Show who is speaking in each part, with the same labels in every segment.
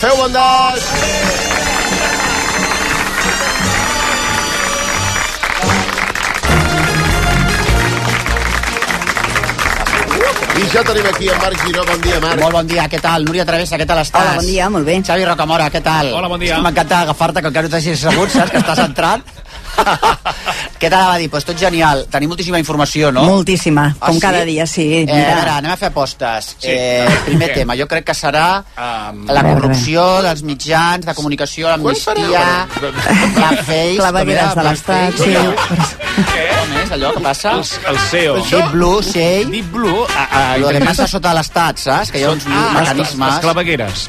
Speaker 1: Adéu, bandes! I ja tenim aquí en Marc Giró. Bon dia, Marc.
Speaker 2: Molt bon dia, què tal? Núria Travessa, què tal estàs?
Speaker 3: Hola, bon dia, molt bé.
Speaker 2: Xavi Rocamora, què tal?
Speaker 4: Hola, bon dia.
Speaker 2: És que M'encanta agafar-te, que encara no t'hagis assegut, saps? Que estàs entrant. què tal, va dir? Doncs tot genial. Tenim moltíssima informació, no?
Speaker 3: Moltíssima,
Speaker 2: Ah,
Speaker 3: com
Speaker 2: sí?
Speaker 3: cada dia, sí.
Speaker 2: Eh, a veure, anem a fer apostes.
Speaker 4: Sí.
Speaker 2: Eh, primer
Speaker 4: Què?
Speaker 2: tema, jo crec que serà
Speaker 4: Um,
Speaker 2: la
Speaker 3: a veure.
Speaker 2: corrupció dels mitjans, de comunicació, l'amnistia, la Face...
Speaker 3: Clavegueres de
Speaker 2: també la
Speaker 3: l'estat,
Speaker 2: Blackface.
Speaker 3: sí.
Speaker 2: Com és allò que passa?
Speaker 4: el, el CEO.
Speaker 2: Deep Blue, Shell...
Speaker 4: Deep Blue, ah, a, a,
Speaker 2: El que
Speaker 4: internet-
Speaker 2: Ah, passa sota l'estat, saps? Que hi ha uns
Speaker 4: Ah,
Speaker 2: mecanismes...
Speaker 4: Les clavegueres.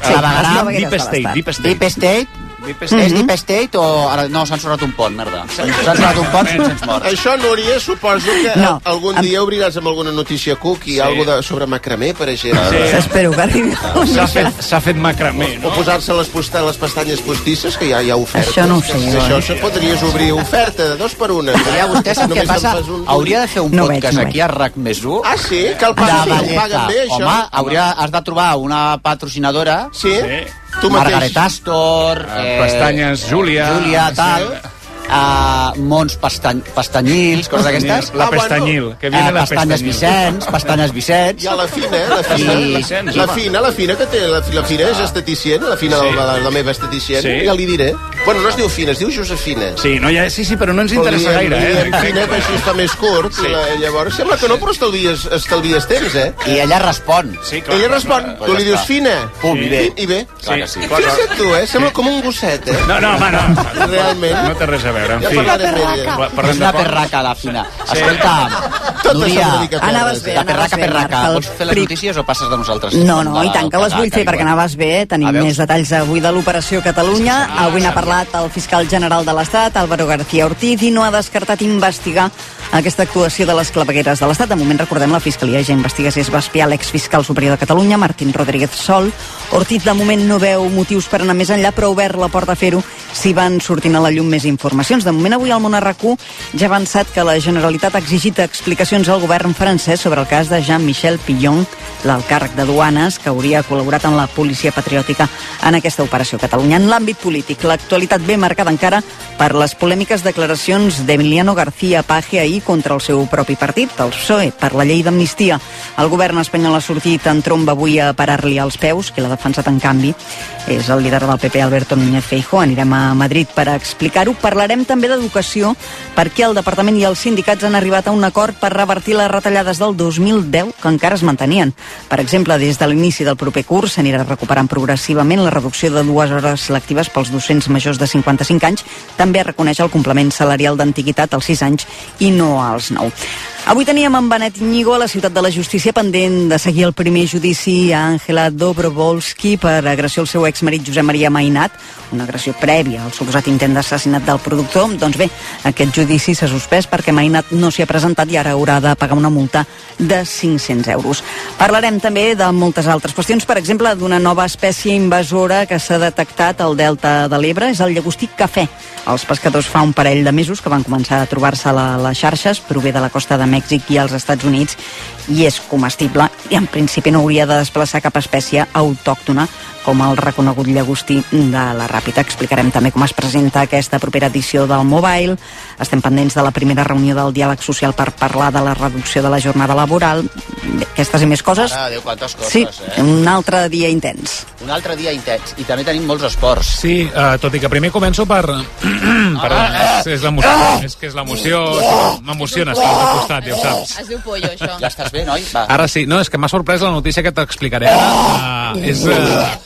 Speaker 2: Sí,
Speaker 4: Ah,
Speaker 2: les
Speaker 3: clavegueres
Speaker 4: Deep
Speaker 3: de
Speaker 4: State,
Speaker 3: l'estat.
Speaker 4: Deep State.
Speaker 2: Deep State. Mm-hmm.
Speaker 4: Deep
Speaker 2: És
Speaker 4: State.
Speaker 2: Deep State o... Ara, no, s'han sorrat un pont, merda. S'han sorrat un pont, se'ns mort.
Speaker 1: Això, Núria, suposo que
Speaker 3: No.
Speaker 1: algun dia obriràs amb alguna notícia cookie, sí. alguna de, sobre macramé, per exemple.
Speaker 4: Sí.
Speaker 3: Espero que arribi.
Speaker 4: S'ha fet, s'ha fet macramé,
Speaker 1: O
Speaker 4: no?
Speaker 1: posar-se les, posta, les pestanyes postisses, que ja hi ha ofertes.
Speaker 3: Això no ho sé,
Speaker 1: Això,
Speaker 3: jo, eh?
Speaker 1: això, això podries obrir oferta de dos per una.
Speaker 2: Ja, vostè sap què
Speaker 1: Només
Speaker 2: passa?
Speaker 1: en fas un-
Speaker 2: Hauria de fer un
Speaker 3: No veig,
Speaker 2: podcast
Speaker 3: no veig.
Speaker 2: aquí a RAC més 1
Speaker 1: Ah, sí? Que el
Speaker 2: de
Speaker 1: paguen, bé, ho
Speaker 2: Valleta.
Speaker 1: paguen bé, això?
Speaker 2: Home, hauria, has de trobar una patrocinadora,
Speaker 1: Sí?
Speaker 4: Sí.
Speaker 1: Tu mateix.
Speaker 2: Margaret Astor...
Speaker 4: Eh, pestanyes, Júlia.
Speaker 2: Júlia,
Speaker 4: Sí.
Speaker 2: tal... Uh, mons pestany, pestanyils, coses d'aquestes.
Speaker 4: La
Speaker 1: Ah, bueno.
Speaker 4: pestanyil, que viene
Speaker 2: Eh,
Speaker 4: la
Speaker 2: pestanyes
Speaker 4: pestanyil.
Speaker 2: Vicenç, pestanyes Vicenç.
Speaker 1: Hi ha la fina, eh? La fina.
Speaker 2: Sí.
Speaker 4: Vicenç,
Speaker 1: La
Speaker 4: home.
Speaker 1: fina, la fina que té, la, fi- la fina és esteticient, la fina
Speaker 4: Sí.
Speaker 1: de la, la meva esteticient,
Speaker 4: Sí.
Speaker 1: ja li diré. Bueno, no es diu fina, es diu Josefina.
Speaker 4: Sí, no, ja, Eh, sí, sí, però no ens
Speaker 1: Però li
Speaker 4: interessa
Speaker 1: diem-
Speaker 4: gaire,
Speaker 1: li
Speaker 4: eh?
Speaker 1: diem Fina, que així està més curt,
Speaker 4: Sí.
Speaker 1: sí. la, llavors sembla que no, però estalvies, estalvies temps, eh?
Speaker 2: I ella respon.
Speaker 4: Sí, clar.
Speaker 1: Ella respon,
Speaker 2: clar,
Speaker 1: tu
Speaker 2: ja
Speaker 1: li dius
Speaker 2: està.
Speaker 1: fina.
Speaker 2: Pum, i bé.
Speaker 1: I, i bé.
Speaker 4: Clar que sí.
Speaker 1: Fixa't tu, eh? Sembla com un gosset, eh?
Speaker 4: No, no, home, no.
Speaker 1: Realment.
Speaker 4: No té res a veure, en
Speaker 1: Ja
Speaker 4: fi.
Speaker 1: parlarem d'ella.
Speaker 4: Va,
Speaker 2: Però
Speaker 4: Parlem
Speaker 2: és una
Speaker 4: de porc.
Speaker 2: perraca, la fina. Escolta,
Speaker 1: Tot
Speaker 2: Núria,
Speaker 1: això vol dir que
Speaker 3: Anaves
Speaker 1: perres,
Speaker 3: bé,
Speaker 1: eh?
Speaker 2: la
Speaker 3: anaves
Speaker 2: perraca,
Speaker 3: bé,
Speaker 2: perraca.
Speaker 3: Marc, el
Speaker 2: Vols fer les
Speaker 3: pri-
Speaker 2: notícies o passes doncs, de nosaltres?
Speaker 3: No, no, i tant, que les
Speaker 2: Perraca,
Speaker 3: vull fer perquè
Speaker 2: igual.
Speaker 3: anaves bé, tenim
Speaker 2: A veure.
Speaker 3: més detalls avui de l'operació Catalunya. Avui n'ha parlat el fiscal general de l'Estat, Álvaro García Ortiz, i no ha descartat investigar aquesta actuació de les clavegueres de l'Estat. De moment, recordem, la Fiscalia ja investiga si es va espiar l'exfiscal superior de Catalunya, Martín Rodríguez Sol. Ortiz, de moment, no veu motius per anar més enllà, però ha obert la porta a fer-ho si van sortint a la llum més informacions. De moment, avui el món RQ ja ha avançat que la Generalitat ha exigit explicacions al govern francès sobre el cas de Jean-Michel Pillon, l'alt càrrec de duanes que hauria col·laborat amb la policia patriòtica en aquesta operació a Catalunya. En l'àmbit polític, l'actualitat ve marcada encara per les polèmiques declaracions d'Emiliano García Page ahir contra el seu propi partit, el PSOE, per la llei d'amnistia. El govern espanyol ha sortit en tromba avui a parar-li els peus, que l'ha defensat en canvi. És el líder del PP, Alberto Núñez Feijóo. Anirem a Madrid per explicar-ho. Parlarem també d'educació, perquè el departament i els sindicats han arribat a un acord per revertir les retallades del 2010 que encara es mantenien. Per exemple, des de l'inici del proper curs s'anirà recuperant progressivament la reducció de dues hores lectives pels docents majors de 55 anys. També es reconeix el complement salarial d'antiguitat als 6 anys i no als 9. Avui teníem en Benet Íñigo a la Ciutat de la Justícia pendent de seguir el primer judici a Àngela Dobrovolski per agressió al seu exmarit Josep Maria Mainat, una agressió prèvia al suposat intent d'assassinat del productor. Doncs bé, aquest judici s'ha suspès perquè Mainat no s'hi ha presentat i ara haurà de pagar una multa de 500 euros. Parlarem també de moltes altres qüestions, per exemple, d'una nova espècie invasora que s'ha detectat al delta de l'Ebre, és el llagostí cafè. Els pescadors fa un parell de mesos que van començar a trobar-se a la, les xarxes, prové de la costa de Mèxic i als Estats Units, i és comestible, i en principi no hauria de desplaçar cap espècie autòctona, com el reconegut llagostí de la Ràpita. Explicarem també com es presenta aquesta propera edició del Mobile. Estem pendents de la primera reunió del diàleg social per parlar de la reducció de la jornada laboral. Bé, Aquestes i més coses.
Speaker 2: Ah, Déu, quantes coses,
Speaker 3: Sí,
Speaker 2: eh?
Speaker 3: un altre dia intens.
Speaker 2: Un altre dia intens. I també tenim molts esports.
Speaker 4: Sí, uh, tot i que primer començo per... eh, Perdó,
Speaker 2: Ah.
Speaker 4: és, és l'emoció, és que és l'emoció, m'emociona estar al costat, ja ho saps.
Speaker 5: Es diu pollo, això.
Speaker 2: Ja estàs bé, noi? Va.
Speaker 4: Ara sí, no, és que m'ha sorprès la notícia que t'explicaré
Speaker 2: Ah.
Speaker 4: ara. Uh, és... Uh,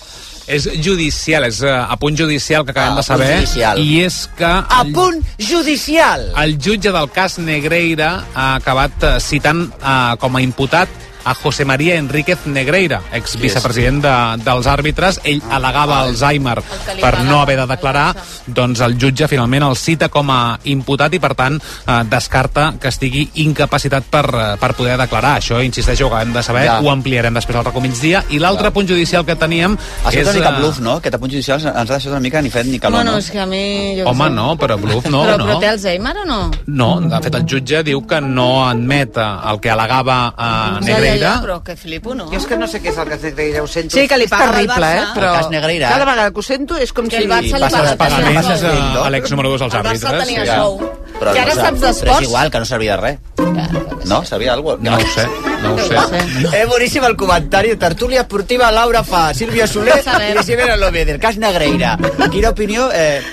Speaker 4: és judicial, és uh, a punt judicial que acabem
Speaker 2: Ah, a
Speaker 4: de
Speaker 2: punt
Speaker 4: saber.
Speaker 2: judicial.
Speaker 4: I és que...
Speaker 2: A
Speaker 4: el-
Speaker 2: punt judicial!
Speaker 4: El jutge del cas Negreira ha acabat eh, citant eh, com a imputat a José María Enríquez Negreira, exvicepresident de, dels àrbitres. Ell al·legava Alzheimer
Speaker 5: que li
Speaker 4: per no
Speaker 5: pagava
Speaker 4: haver de
Speaker 5: el
Speaker 4: declarar.
Speaker 5: Barça.
Speaker 4: Doncs el jutge finalment el cita com a imputat i, per tant, eh, descarta que estigui incapacitat per, eh, per poder declarar. Això, insisteixo, ho acabem de saber.
Speaker 2: Ja.
Speaker 4: Ho ampliarem després al racó migdia. I l'altre punt judicial que teníem
Speaker 2: Això és
Speaker 4: és...
Speaker 2: una mica
Speaker 4: eh,
Speaker 2: bluff, no? Aquest apunt judicial ens ha deixat una mica ni fet ni calor, no?
Speaker 5: bueno, és que a mi... Jo què
Speaker 4: Home,
Speaker 5: sé.
Speaker 4: no, però bluff no,
Speaker 5: però,
Speaker 4: no.
Speaker 5: però té Alzheimer o no?
Speaker 4: No, de fet el jutge diu que no admet eh, el que al·legava eh,
Speaker 2: Ah,
Speaker 5: Ja, ja, ja,
Speaker 4: Negreira...
Speaker 5: Negreira, però que flipo, no?
Speaker 6: Jo és que no sé què és el cas Negreira, ho sento.
Speaker 5: Sí, que li
Speaker 6: és
Speaker 5: pagava el
Speaker 6: terrible,
Speaker 5: Barça.
Speaker 6: eh? Però
Speaker 2: El cas Negreira.
Speaker 6: Cada vegada que ho sento és com
Speaker 5: Que
Speaker 6: si...
Speaker 5: el Barça li
Speaker 2: passa
Speaker 5: paga
Speaker 2: els pagaments
Speaker 5: el
Speaker 4: eh,
Speaker 5: Barça.
Speaker 2: a-
Speaker 4: a l'ex-número 2 als
Speaker 5: El Barça
Speaker 4: àrbitres.
Speaker 5: tenia
Speaker 4: ja.
Speaker 5: sou.
Speaker 7: Però
Speaker 5: que ara
Speaker 7: no,
Speaker 5: saps
Speaker 7: Però és
Speaker 5: d'esports...
Speaker 7: igual, que no servia de res. No? Servia d'alguna
Speaker 4: No ho sé, no ho sé.
Speaker 2: Eh, boníssim el comentari. Tertúlia esportiva, Laura fa Sílvia Soler
Speaker 5: sabem.
Speaker 2: i Isidre López, del cas Negreira. Quina opinió... Eh,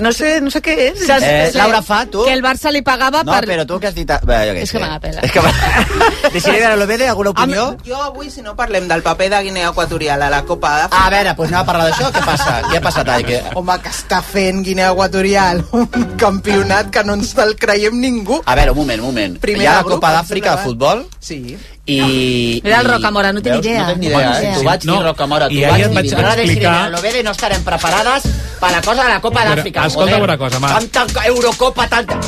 Speaker 6: No sé, no sé què és.
Speaker 5: Saps-
Speaker 2: Eh,
Speaker 5: sí.
Speaker 2: Laura, fa, tu?
Speaker 5: Que el Barça li pagava
Speaker 2: no,
Speaker 5: per...
Speaker 2: però tu que has dit... Bé, jo què
Speaker 5: És que
Speaker 2: sé.
Speaker 5: me la pela.
Speaker 2: És que me... Isidre López, alguna opinió?
Speaker 8: Jo avui, si no parlem del paper de Guinea Equatorial a la Copa d'Àfrica...
Speaker 2: A veure, doncs anem a parlar d'això. Què passa? Què ha passat? Ai, que...
Speaker 8: Home, que està fent Guinea Equatorial un campionat que no ens el creiem ningú.
Speaker 2: A veure, un moment, un moment. Hi
Speaker 8: Primer
Speaker 2: ha la
Speaker 8: de grup,
Speaker 2: Copa
Speaker 8: em
Speaker 2: d'Àfrica de
Speaker 8: sembla.
Speaker 2: futbol
Speaker 8: Sí.
Speaker 2: i...
Speaker 5: Era el
Speaker 2: i-
Speaker 5: Rocamora, no tinc
Speaker 2: veus?
Speaker 5: idea.
Speaker 2: No tinc ni
Speaker 5: Bueno,
Speaker 2: idea,
Speaker 5: sí.
Speaker 2: eh? Tu vaig
Speaker 4: No,
Speaker 2: dir Rocamora, tu
Speaker 4: i ahir
Speaker 2: vaig
Speaker 4: et
Speaker 2: dir...
Speaker 4: vaig
Speaker 2: Ara de
Speaker 4: explicar-
Speaker 2: Sirena, Lobede no estarem preparades per la cosa de la Copa
Speaker 4: Però,
Speaker 2: d'Àfrica.
Speaker 4: escolta
Speaker 2: joder.
Speaker 4: una cosa, Marc.
Speaker 2: Tanta Eurocopa, tanta...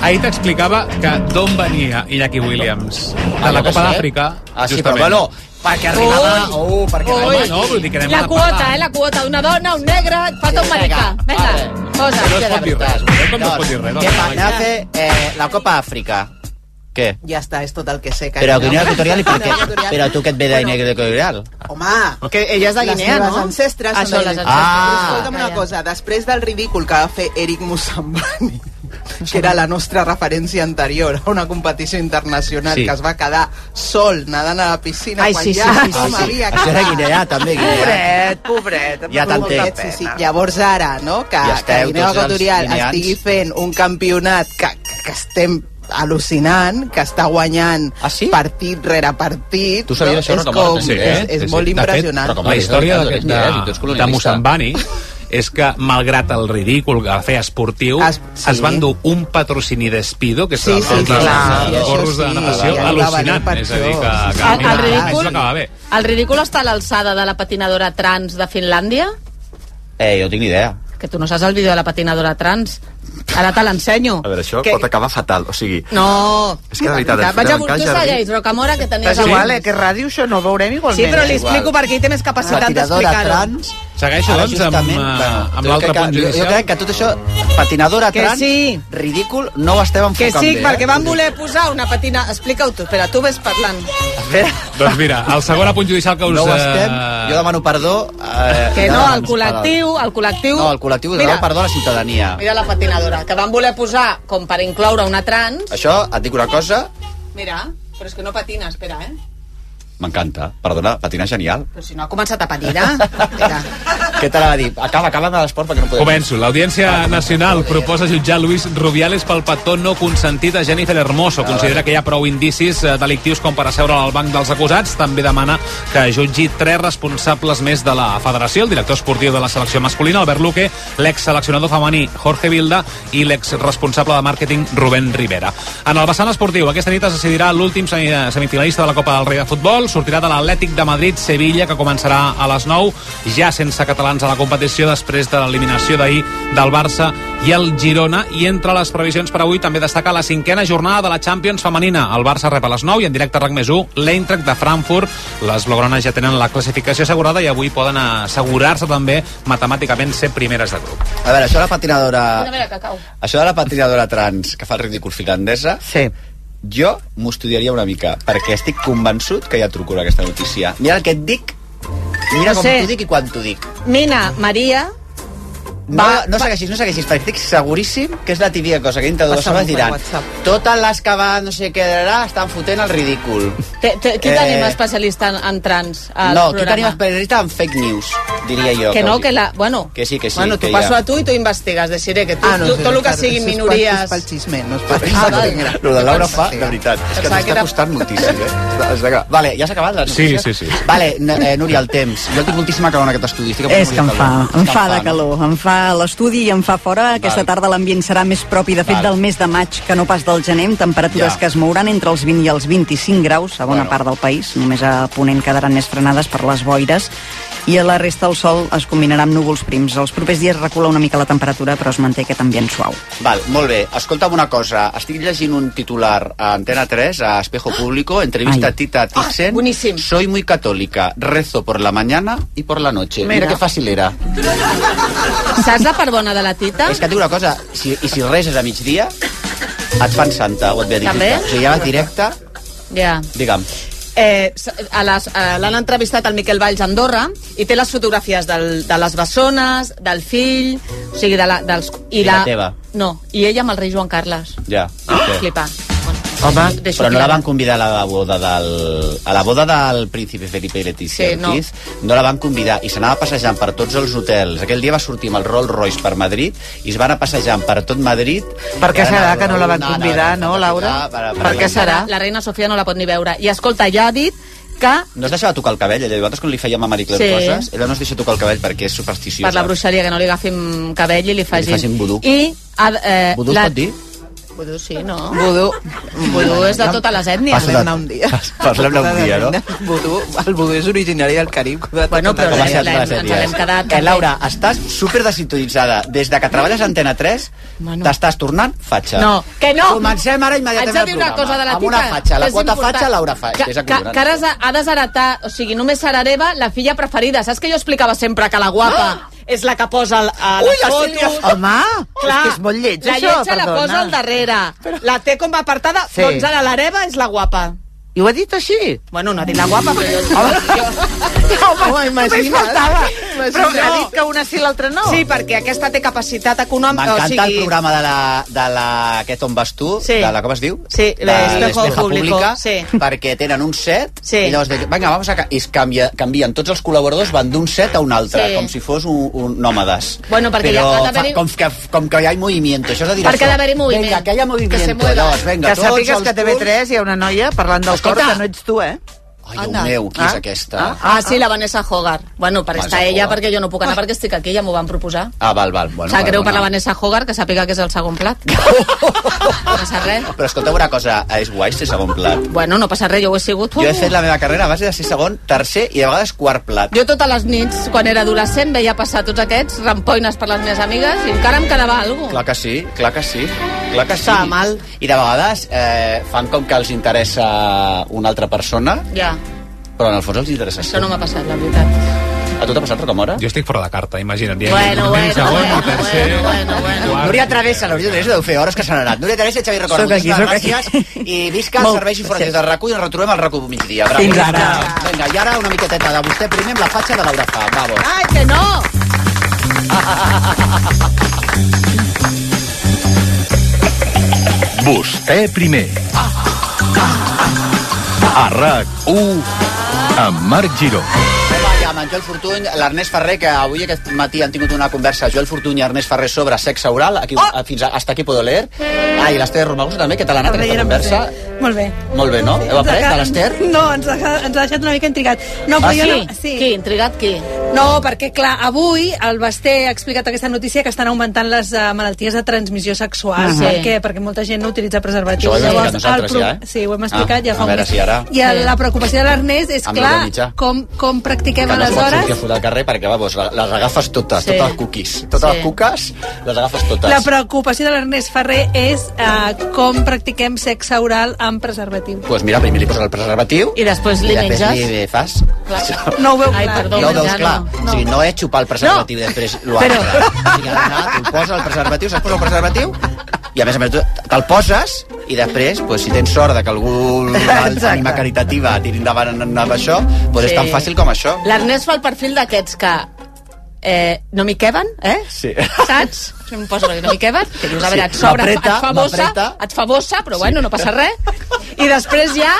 Speaker 4: Ahir t'explicava que d'on venia Iñaki Williams. De la
Speaker 2: Ah, jo
Speaker 4: Copa
Speaker 2: què sé.
Speaker 4: d'Àfrica,
Speaker 2: Ah, sí, però
Speaker 4: justament.
Speaker 2: bueno, perquè arribava... Oh, perquè
Speaker 5: Ui.
Speaker 2: arribava...
Speaker 4: Home, no, vull dir que anem a
Speaker 5: La
Speaker 4: la
Speaker 5: quota,
Speaker 4: papa.
Speaker 5: eh, la quota. Una dona, un negre, et falta un maricà. Vinga, posa.
Speaker 4: Però es pot dir res. Veu com no es pot dir res?
Speaker 2: Què va,
Speaker 4: Home,
Speaker 2: anem a fer eh, la Copa Àfrica. Què?
Speaker 8: Ja està, és tot el que sé. Que
Speaker 2: Però Guinea
Speaker 8: Guinea
Speaker 2: Equatorial i per què?
Speaker 8: Equatorial.
Speaker 2: Però tu que et ve de Guinea Equatorial?
Speaker 8: Home,
Speaker 6: Que ella és de Guinea,
Speaker 8: les
Speaker 6: no?
Speaker 8: meves ancestres...
Speaker 5: Això,
Speaker 8: Ah, són de
Speaker 5: les
Speaker 8: Guinea.
Speaker 2: ancestres.
Speaker 8: Però Escolta'm una
Speaker 5: Calla.
Speaker 8: cosa, després del ridícul que va fer Eric Musambani, que era la nostra referència anterior a una competició internacional
Speaker 4: Sí.
Speaker 8: que es va quedar sol nadant a la piscina
Speaker 5: Ai,
Speaker 8: quan
Speaker 5: sí,
Speaker 8: ja
Speaker 5: sí, sí,
Speaker 8: tothom
Speaker 5: sí, sí.
Speaker 8: havia
Speaker 2: Això era
Speaker 8: acabat.
Speaker 2: Guinea, també, Guinea.
Speaker 6: Pobret, pobret. em
Speaker 2: Ja
Speaker 6: fa molta
Speaker 2: t'entenc.
Speaker 6: pena.
Speaker 8: Sí, sí. Llavors ara, no?, que,
Speaker 2: Ja
Speaker 8: que
Speaker 2: esteu
Speaker 8: Guinea
Speaker 2: tots els
Speaker 8: Equatorial
Speaker 2: guineans.
Speaker 8: estigui fent un campionat que, que, que estem al·lucinant, que està guanyant
Speaker 2: Ah, sí?
Speaker 8: partit rere partit.
Speaker 7: Tu sabies això,
Speaker 8: És,
Speaker 7: Rocamora?
Speaker 8: com,
Speaker 7: Sí,
Speaker 8: és, és molt
Speaker 4: De fet,
Speaker 8: impressionant.
Speaker 7: Rocamora,
Speaker 4: la història
Speaker 7: és
Speaker 4: de,
Speaker 7: veritat,
Speaker 4: de,
Speaker 7: tu ets
Speaker 4: de,
Speaker 7: colonialista.
Speaker 4: Mossambani és que, malgrat el ridícul que va fer esportiu, es,
Speaker 8: Es-
Speaker 4: sí. es
Speaker 8: sí.
Speaker 4: van dur un patrocini d'Espido, que és
Speaker 8: Sí,
Speaker 4: el,
Speaker 8: sí,
Speaker 4: el,
Speaker 8: clar,
Speaker 4: dels
Speaker 8: sí, això
Speaker 4: gorros de
Speaker 8: sí,
Speaker 4: natació,
Speaker 8: ja li va valer
Speaker 4: al·lucinant.
Speaker 8: per
Speaker 4: És a dir, que,
Speaker 8: això. Sí, sí,
Speaker 4: que
Speaker 5: El,
Speaker 8: sí,
Speaker 4: mira,
Speaker 5: el,
Speaker 8: clar,
Speaker 4: això
Speaker 5: ridícul,
Speaker 4: acaba bé.
Speaker 5: el ridícul està a l'alçada de la patinadora trans de Finlàndia?
Speaker 2: Eh, jo tinc ni idea.
Speaker 5: Que tu no saps el vídeo de la patinadora trans. Ara te l'ensenyo.
Speaker 7: A veure, això
Speaker 5: Que-
Speaker 7: pot acabar fatal, o sigui...
Speaker 5: No.
Speaker 7: És que de veritat, ens
Speaker 5: Vaig
Speaker 7: fotem
Speaker 5: a
Speaker 7: en
Speaker 5: Burtus
Speaker 7: casa,
Speaker 5: a
Speaker 7: Jordi.
Speaker 5: Lleis, Rocamora, que tenies...
Speaker 6: Però és igual, eh, que ràdio això no ho veurem igualment.
Speaker 5: Sí, però li
Speaker 6: eh?
Speaker 5: explico perquè ell té més
Speaker 2: La
Speaker 5: capacitat
Speaker 2: tiradora
Speaker 5: d'explicar-ho.
Speaker 2: trans...
Speaker 4: Segueixo,
Speaker 2: Ara,
Speaker 4: doncs, amb,
Speaker 2: justament,
Speaker 4: eh,
Speaker 2: bueno,
Speaker 4: amb
Speaker 2: jo
Speaker 4: l'altre
Speaker 2: crec que-
Speaker 4: punt
Speaker 2: jo-
Speaker 4: judicial.
Speaker 2: Jo crec que tot això, patinadora
Speaker 5: Que
Speaker 2: trans,
Speaker 5: sí.
Speaker 2: ridícul, no ho estem
Speaker 5: Que
Speaker 2: enfocant
Speaker 5: sí,
Speaker 2: bé.
Speaker 5: perquè
Speaker 2: eh?
Speaker 5: van voler posar una patina... Explica-ho tu, espera, tu ves parlant.
Speaker 2: Espera,
Speaker 4: Doncs mira, el segon punt judicial que us...
Speaker 2: no ho estem,
Speaker 4: eh,
Speaker 2: jo demano perdó... Eh,
Speaker 5: Que
Speaker 2: ja
Speaker 5: no,
Speaker 2: demano
Speaker 5: el col·lectiu... El col·lectiu...
Speaker 2: No, el col·lectiu
Speaker 5: Mira,
Speaker 2: demana perdó a la ciutadania.
Speaker 5: Mira la patinadora, que van voler posar com per incloure una trans.
Speaker 2: Això, et dic una cosa,
Speaker 5: Mira, però és que no patina, espera, eh?
Speaker 2: m'encanta. Perdona, patinar genial.
Speaker 5: Però si no ha començat a patinar. Espera.
Speaker 2: Què t'anava a dir? Acaba, acaba amb l'esport perquè no podem...
Speaker 4: Començo. L'Audiència Nacional proposa jutjar Luis Rubiales pel petó no consentit a Jennifer Hermoso. Considera que hi ha prou indicis eh, delictius com per asseure al banc dels acusats. També demana que jutgi tres responsables més de la federació, el director esportiu de la selecció masculina, Albert Luque, l'ex-seleccionador femení Jorge Vilda i l'ex-responsable de màrqueting Rubén Rivera. En el vessant esportiu, aquesta nit es decidirà l'últim semi- semifinalista de la Copa del Rei de Futbol. Sortirà de l'Atlètic de Madrid-Sevilla, que començarà a les 9, ja sense catalans a la competició després de l'eliminació d'ahir del Barça i el Girona. I entre les previsions per avui també destaca la cinquena jornada de la Champions femenina. El Barça rep a les 9 i en directe a RAC més 1 l'Eintracht de Frankfurt. Les blaugranes ja tenen la classificació assegurada i avui poden assegurar-se també matemàticament ser primeres de grup.
Speaker 2: A veure, això de la patinadora...
Speaker 5: Mira, mira, cacau.
Speaker 2: Això de la patinadora trans que fa el ridícul finlandesa,
Speaker 6: Sí.
Speaker 2: jo m'ho estudiaria una mica, perquè estic convençut que hi ha trucura aquesta notícia. Mira el que et dic, mira
Speaker 5: No
Speaker 2: com
Speaker 5: sé.
Speaker 2: t'ho dic i quan t'ho dic.
Speaker 5: Mina Maria
Speaker 2: No, no segueixis, no segueixis, perquè estic seguríssim que és la típica cosa que dintre de dues
Speaker 8: Passa-m'ho
Speaker 2: hores
Speaker 8: per
Speaker 2: diran
Speaker 8: WhatsApp.
Speaker 2: totes les que van no sé què darà estan fotent el ridícul.
Speaker 5: Te, te, qui
Speaker 2: Eh.
Speaker 5: tenim especialista en, en trans al
Speaker 2: no, aquí
Speaker 5: programa?
Speaker 2: tenim especialista en fake news, diria jo.
Speaker 5: Que no,
Speaker 2: avui-
Speaker 5: que la... Bueno,
Speaker 2: Que sí, que sí,
Speaker 5: Bueno,
Speaker 2: que
Speaker 5: t'ho
Speaker 2: hi ha.
Speaker 5: passo a tu i tu investigues. Deixaré que tu, ah, no, tu,
Speaker 8: sí,
Speaker 5: tot el que
Speaker 8: clar,
Speaker 5: siguin
Speaker 8: això és pel-
Speaker 5: minories...
Speaker 8: És pel xisme, no és
Speaker 2: Ah,
Speaker 8: pel xisme.
Speaker 5: vale.
Speaker 8: Vinga.
Speaker 2: Lo de Laura fa, de
Speaker 8: Pensava
Speaker 2: veritat, és que
Speaker 5: Pensava que
Speaker 2: t'està
Speaker 5: era-
Speaker 2: costant moltíssim, eh? Has d'acabar. Vale, ja s'ha acabat la
Speaker 4: Sí,
Speaker 2: notícia?
Speaker 4: sí, sí.
Speaker 2: Vale, n- eh, Núria, el temps. Jo el tinc moltíssima calor en aquest estudi. Estic a punt de
Speaker 5: És que em
Speaker 2: morir de
Speaker 5: fa-
Speaker 2: calor.
Speaker 5: em
Speaker 2: És que
Speaker 5: fa de
Speaker 2: no?
Speaker 5: calor, em fa l'estudi i em fa fora. Aquesta
Speaker 2: Val.
Speaker 5: tarda l'ambient serà més propi, de fet,
Speaker 2: Val.
Speaker 5: del mes de maig que no pas del gener, amb temperatures
Speaker 2: Ja.
Speaker 5: que es mouran entre els 20 i els 25 graus a bona
Speaker 2: Bueno.
Speaker 5: part del país. Només a Ponent quedaran més frenades per les boires i a la resta el sol es combinarà amb núvols prims. Els propers dies recula una mica la temperatura, però es manté aquest ambient suau.
Speaker 2: Val, molt bé. Escolta'm una cosa. Estic llegint un titular a Antena 3, a Espejo Público, entrevista
Speaker 5: Ai. Ah,
Speaker 2: a Tita Tixen.
Speaker 5: boníssim.
Speaker 2: Soy muy católica. Rezo por la mañana y por la noche. Mira,
Speaker 5: Mira.
Speaker 2: que fàcil era.
Speaker 5: Saps la part bona de la Tita?
Speaker 2: És que et dic una cosa, si, i si res és a migdia, et fan santa, ho et ve a dir.
Speaker 5: També?
Speaker 2: Tita. O sigui, ja va directe,
Speaker 5: Ja.
Speaker 2: digue'm.
Speaker 5: eh, s- a les- a- l'han entrevistat el Miquel Valls a Andorra i té les fotografies del, de les bessones, del fill, o sigui, de la, dels...
Speaker 2: I la teva.
Speaker 5: No, i ella amb el rei Joan Carles.
Speaker 2: Ja.
Speaker 5: Ah.
Speaker 2: Sí.
Speaker 5: Flipant. Bueno,
Speaker 9: Home,
Speaker 5: deixo
Speaker 2: Però no
Speaker 5: aquí
Speaker 2: la van convidar a la boda del, a la boda del príncipe Felipe i Letícia
Speaker 5: Sí,
Speaker 2: sí,
Speaker 5: no.
Speaker 2: Ortiz. No. no la van convidar i s'anava passejant per tots els hotels. Aquell dia va sortir amb el Rolls Royce per Madrid i es van a passejant per tot Madrid.
Speaker 6: Per què
Speaker 2: I van
Speaker 6: serà
Speaker 2: anar a
Speaker 6: que no la van
Speaker 2: Barcelona,
Speaker 6: convidar,
Speaker 2: anar a
Speaker 6: no,
Speaker 2: Santa
Speaker 6: Laura?
Speaker 2: Catarina, per- per
Speaker 6: Per què
Speaker 2: Irlanda.
Speaker 6: serà?
Speaker 5: La reina Sofia no la pot ni veure. I escolta, ja ha dit que
Speaker 2: No es deixava tocar el cabell, ella. Nosaltres quan li fèiem a Marie Claire
Speaker 5: Sí.
Speaker 2: sí. coses, ella no es deixa tocar el cabell perquè és supersticiosa.
Speaker 5: per la bruixeria, que no li agafin cabell i li facin...
Speaker 2: facin vudú.
Speaker 5: I, ha- eh,
Speaker 2: Vudú es pot dir?
Speaker 5: Vudú sí, no?
Speaker 8: Vudú.
Speaker 5: Vudú és de totes les ètnies.
Speaker 2: Passa de-
Speaker 8: Parlem-ne un dia.
Speaker 2: Parlem-ne un dia, no?
Speaker 8: Vudú, el vudú és originari del Carib. De tot
Speaker 5: Bueno, però
Speaker 2: Com
Speaker 5: la,
Speaker 2: ha
Speaker 5: la,
Speaker 2: estat
Speaker 5: la,
Speaker 2: les
Speaker 5: ens
Speaker 2: ètnies.
Speaker 5: n'hem quedat...
Speaker 2: Eh, Laura, estàs super desintonitzada. Des de que treballes a Antena 3,
Speaker 5: Bueno.
Speaker 2: t'estàs tornant fatxa.
Speaker 5: No, que no!
Speaker 2: Comencem ara immediatament
Speaker 5: Haig de dir una
Speaker 2: el programa.
Speaker 5: cosa de la
Speaker 2: Amb una
Speaker 5: tita,
Speaker 2: fatxa,
Speaker 5: que
Speaker 2: la
Speaker 5: és
Speaker 2: quota
Speaker 5: important.
Speaker 2: fatxa, Laura fa. Que, és
Speaker 5: que,
Speaker 2: acollonant.
Speaker 5: que ara has de- ha desheretat, o sigui, només serà Areva la filla preferida. Saps que jo explicava sempre que la guapa
Speaker 6: Ah!
Speaker 5: és la que posa el, a les
Speaker 2: Ui, la
Speaker 5: fotos?
Speaker 2: Sílvia fa-
Speaker 6: Home,
Speaker 5: Clar,
Speaker 6: és que és molt lleig,
Speaker 5: la
Speaker 6: això,
Speaker 5: lletja la
Speaker 6: perdona.
Speaker 5: posa al darrere, la té com a apartada,
Speaker 6: Sí.
Speaker 5: doncs ara l'Areva és la guapa.
Speaker 6: I ho ha dit així?
Speaker 5: Bueno, no ha dit la guapa, però jo...
Speaker 6: Home, imagina't. Només faltava. Però
Speaker 5: Imagina't.
Speaker 6: ha dit que una sí i l'altra no.
Speaker 5: Sí, perquè aquesta té capacitat econòmica, o
Speaker 2: M'encanta
Speaker 5: sigui...
Speaker 2: el programa de la, de la aquest on vas tu,
Speaker 5: Sí.
Speaker 2: de la, com es diu?
Speaker 5: Sí,
Speaker 2: de
Speaker 5: l'Espejo
Speaker 2: l'Espejo
Speaker 5: Público,
Speaker 2: Pública,
Speaker 5: sí.
Speaker 2: perquè tenen un set
Speaker 5: Sí.
Speaker 2: i llavors dic, vinga, vamos a... ca-" I es canvia, canvien, tots els col·laboradors van d'un set a un altre,
Speaker 5: Sí.
Speaker 2: com si fos un, un nòmades.
Speaker 5: Bueno, perquè
Speaker 2: Però
Speaker 5: hi ha- ha
Speaker 2: fa,
Speaker 5: d'haver-hi-
Speaker 2: com, que, com que hi ha moviment, això és de dir
Speaker 5: Perquè ha
Speaker 2: això.
Speaker 5: d'haver-hi moviment.
Speaker 2: Vinga, que hi ha moviment.
Speaker 5: Que se mueva.
Speaker 2: Llavors, vinga,
Speaker 6: Que
Speaker 2: tots
Speaker 6: sàpigues
Speaker 2: els
Speaker 6: que a TV3 hi ha una noia parlant del cor
Speaker 2: Escolta.
Speaker 6: que no ets tu, eh?
Speaker 2: Ai, Déu meu, qui és aquesta? Ah,
Speaker 5: Ah, sí, la Vanessa Hogar. Bueno, per
Speaker 2: Vanessa
Speaker 5: estar ella,
Speaker 2: Hogar.
Speaker 5: perquè jo no puc anar, perquè estic aquí, ja m'ho van proposar.
Speaker 2: Ah, val, val. Bueno,
Speaker 5: Bueno, Sap greu per la
Speaker 2: perdona.
Speaker 5: Vanessa Hogar, que sàpiga que és el segon plat. no passa res.
Speaker 2: Però escolteu una cosa, és guai ser segon plat.
Speaker 5: Bueno, no passa res, jo ho he sigut.
Speaker 2: Jo he fet la meva carrera a base de ser segon, tercer i de vegades quart plat.
Speaker 5: Jo totes les nits, quan era adolescent, veia passar tots aquests rampoines per les meves amigues i encara em quedava alguna
Speaker 2: Clar que sí, clar que sí, clar que sí.
Speaker 5: Està mal.
Speaker 2: I de vegades eh, fan com que els interessa una altra persona,
Speaker 5: Ja,
Speaker 2: però en el fons els interessa
Speaker 5: això
Speaker 2: tu.
Speaker 5: no m'ha passat, la veritat.
Speaker 2: A tu t'ha passat, Rocamora?
Speaker 4: Jo estic fora de carta, imagina't. Ja,
Speaker 5: Bueno,
Speaker 4: primer,
Speaker 5: bueno,
Speaker 4: segon,
Speaker 5: bueno,
Speaker 4: tercer,
Speaker 5: bueno, bueno, bueno.
Speaker 4: quart.
Speaker 2: Núria Travessa, la Núria Travessa deu fer hores que s'han anat. Núria Travessa i Xavi Record,
Speaker 10: Soc aquí,
Speaker 2: moltíssimes
Speaker 10: soc
Speaker 2: gràcies.
Speaker 10: aquí.
Speaker 2: I visca els
Speaker 10: Molt-
Speaker 2: serveis informatius del RAC1 i ens retrobem al RAC1 migdia. Bravo.
Speaker 10: Fins ara.
Speaker 2: Vinga, i ara una miqueteta de vostè primer amb la fatxa de Laura Fa. Bravo.
Speaker 5: Ai, que no!
Speaker 11: Vostè primer. A RAC1 amb Marc Giró.
Speaker 2: Home, i amb en Joel Fortuny, l'Ernest Ferrer, que avui aquest matí han tingut una conversa Joel Fortuny i Ernest Ferrer sobre sexe oral, aquí, oh! fins a, hasta aquí puedo leer. Ah, i l'Ester Romagoso també, que te l'ha anat aquesta conversa?
Speaker 12: Molt bé.
Speaker 2: Molt bé, no? Heu après de l'Ester?
Speaker 12: No, ens ha, ens ha deixat una mica intrigat. No,
Speaker 2: Ah,
Speaker 12: però jo
Speaker 5: Qui?
Speaker 12: no,
Speaker 5: Sí. Qui? Intrigat qui?
Speaker 12: No, perquè, clar, avui el Basté ha explicat aquesta notícia que estan augmentant les uh, malalties de transmissió sexual.
Speaker 5: Ah, sí.
Speaker 12: Per què? Perquè molta gent no utilitza preservatius.
Speaker 2: Això ho hem
Speaker 12: Llavors,
Speaker 2: explicat nosaltres,
Speaker 12: el
Speaker 2: ja, eh?
Speaker 12: Sí, ho hem explicat
Speaker 2: Ah,
Speaker 12: ja fa
Speaker 2: a
Speaker 12: un
Speaker 2: veure
Speaker 12: mes.
Speaker 2: si ara-
Speaker 12: I el,
Speaker 5: Sí.
Speaker 12: la preocupació de l'Ernest és,
Speaker 2: Amb
Speaker 12: clar,
Speaker 2: l'hora mitja.
Speaker 12: com, com practiquem
Speaker 2: que no es pot sortir a
Speaker 12: aleshores...
Speaker 2: fotre al carrer perquè, vamos, la- les agafes totes,
Speaker 5: Sí.
Speaker 2: totes les cookies. Totes
Speaker 5: Sí.
Speaker 2: les cuques, les agafes totes.
Speaker 12: La preocupació de l'Ernest Ferrer és uh, com practiquem sexe oral amb preservatiu.
Speaker 2: pues mira, primer li poses el preservatiu
Speaker 5: I després li
Speaker 2: i després
Speaker 5: menges?
Speaker 2: li fas...
Speaker 5: Clar.
Speaker 12: No ho veu
Speaker 5: Ai,
Speaker 12: clar.
Speaker 5: perdó,
Speaker 2: No ho veus
Speaker 5: ja
Speaker 2: clar.
Speaker 5: no.
Speaker 2: No. O sigui, no és xupar el preservatiu
Speaker 5: No.
Speaker 2: i després l'altre. Però... O sigui, ha d'anar, tu poses el preservatiu, saps posar el preservatiu? I a més a més, tu te'l poses i després, pues, si tens sort de que algú ànima caritativa tiri endavant en- amb això, pues
Speaker 5: Sí.
Speaker 2: és tan fàcil com això.
Speaker 5: L'Ernest fa el perfil d'aquests que eh, no m'hi queben, eh?
Speaker 2: Sí.
Speaker 5: Saps? Jo em poso no m'hi queben, que dius, a veure, et sobra, et
Speaker 2: m'apreta,
Speaker 5: fa bossa,
Speaker 2: m'apreta.
Speaker 5: et fa bossa, però bueno, no passa res. I després ja...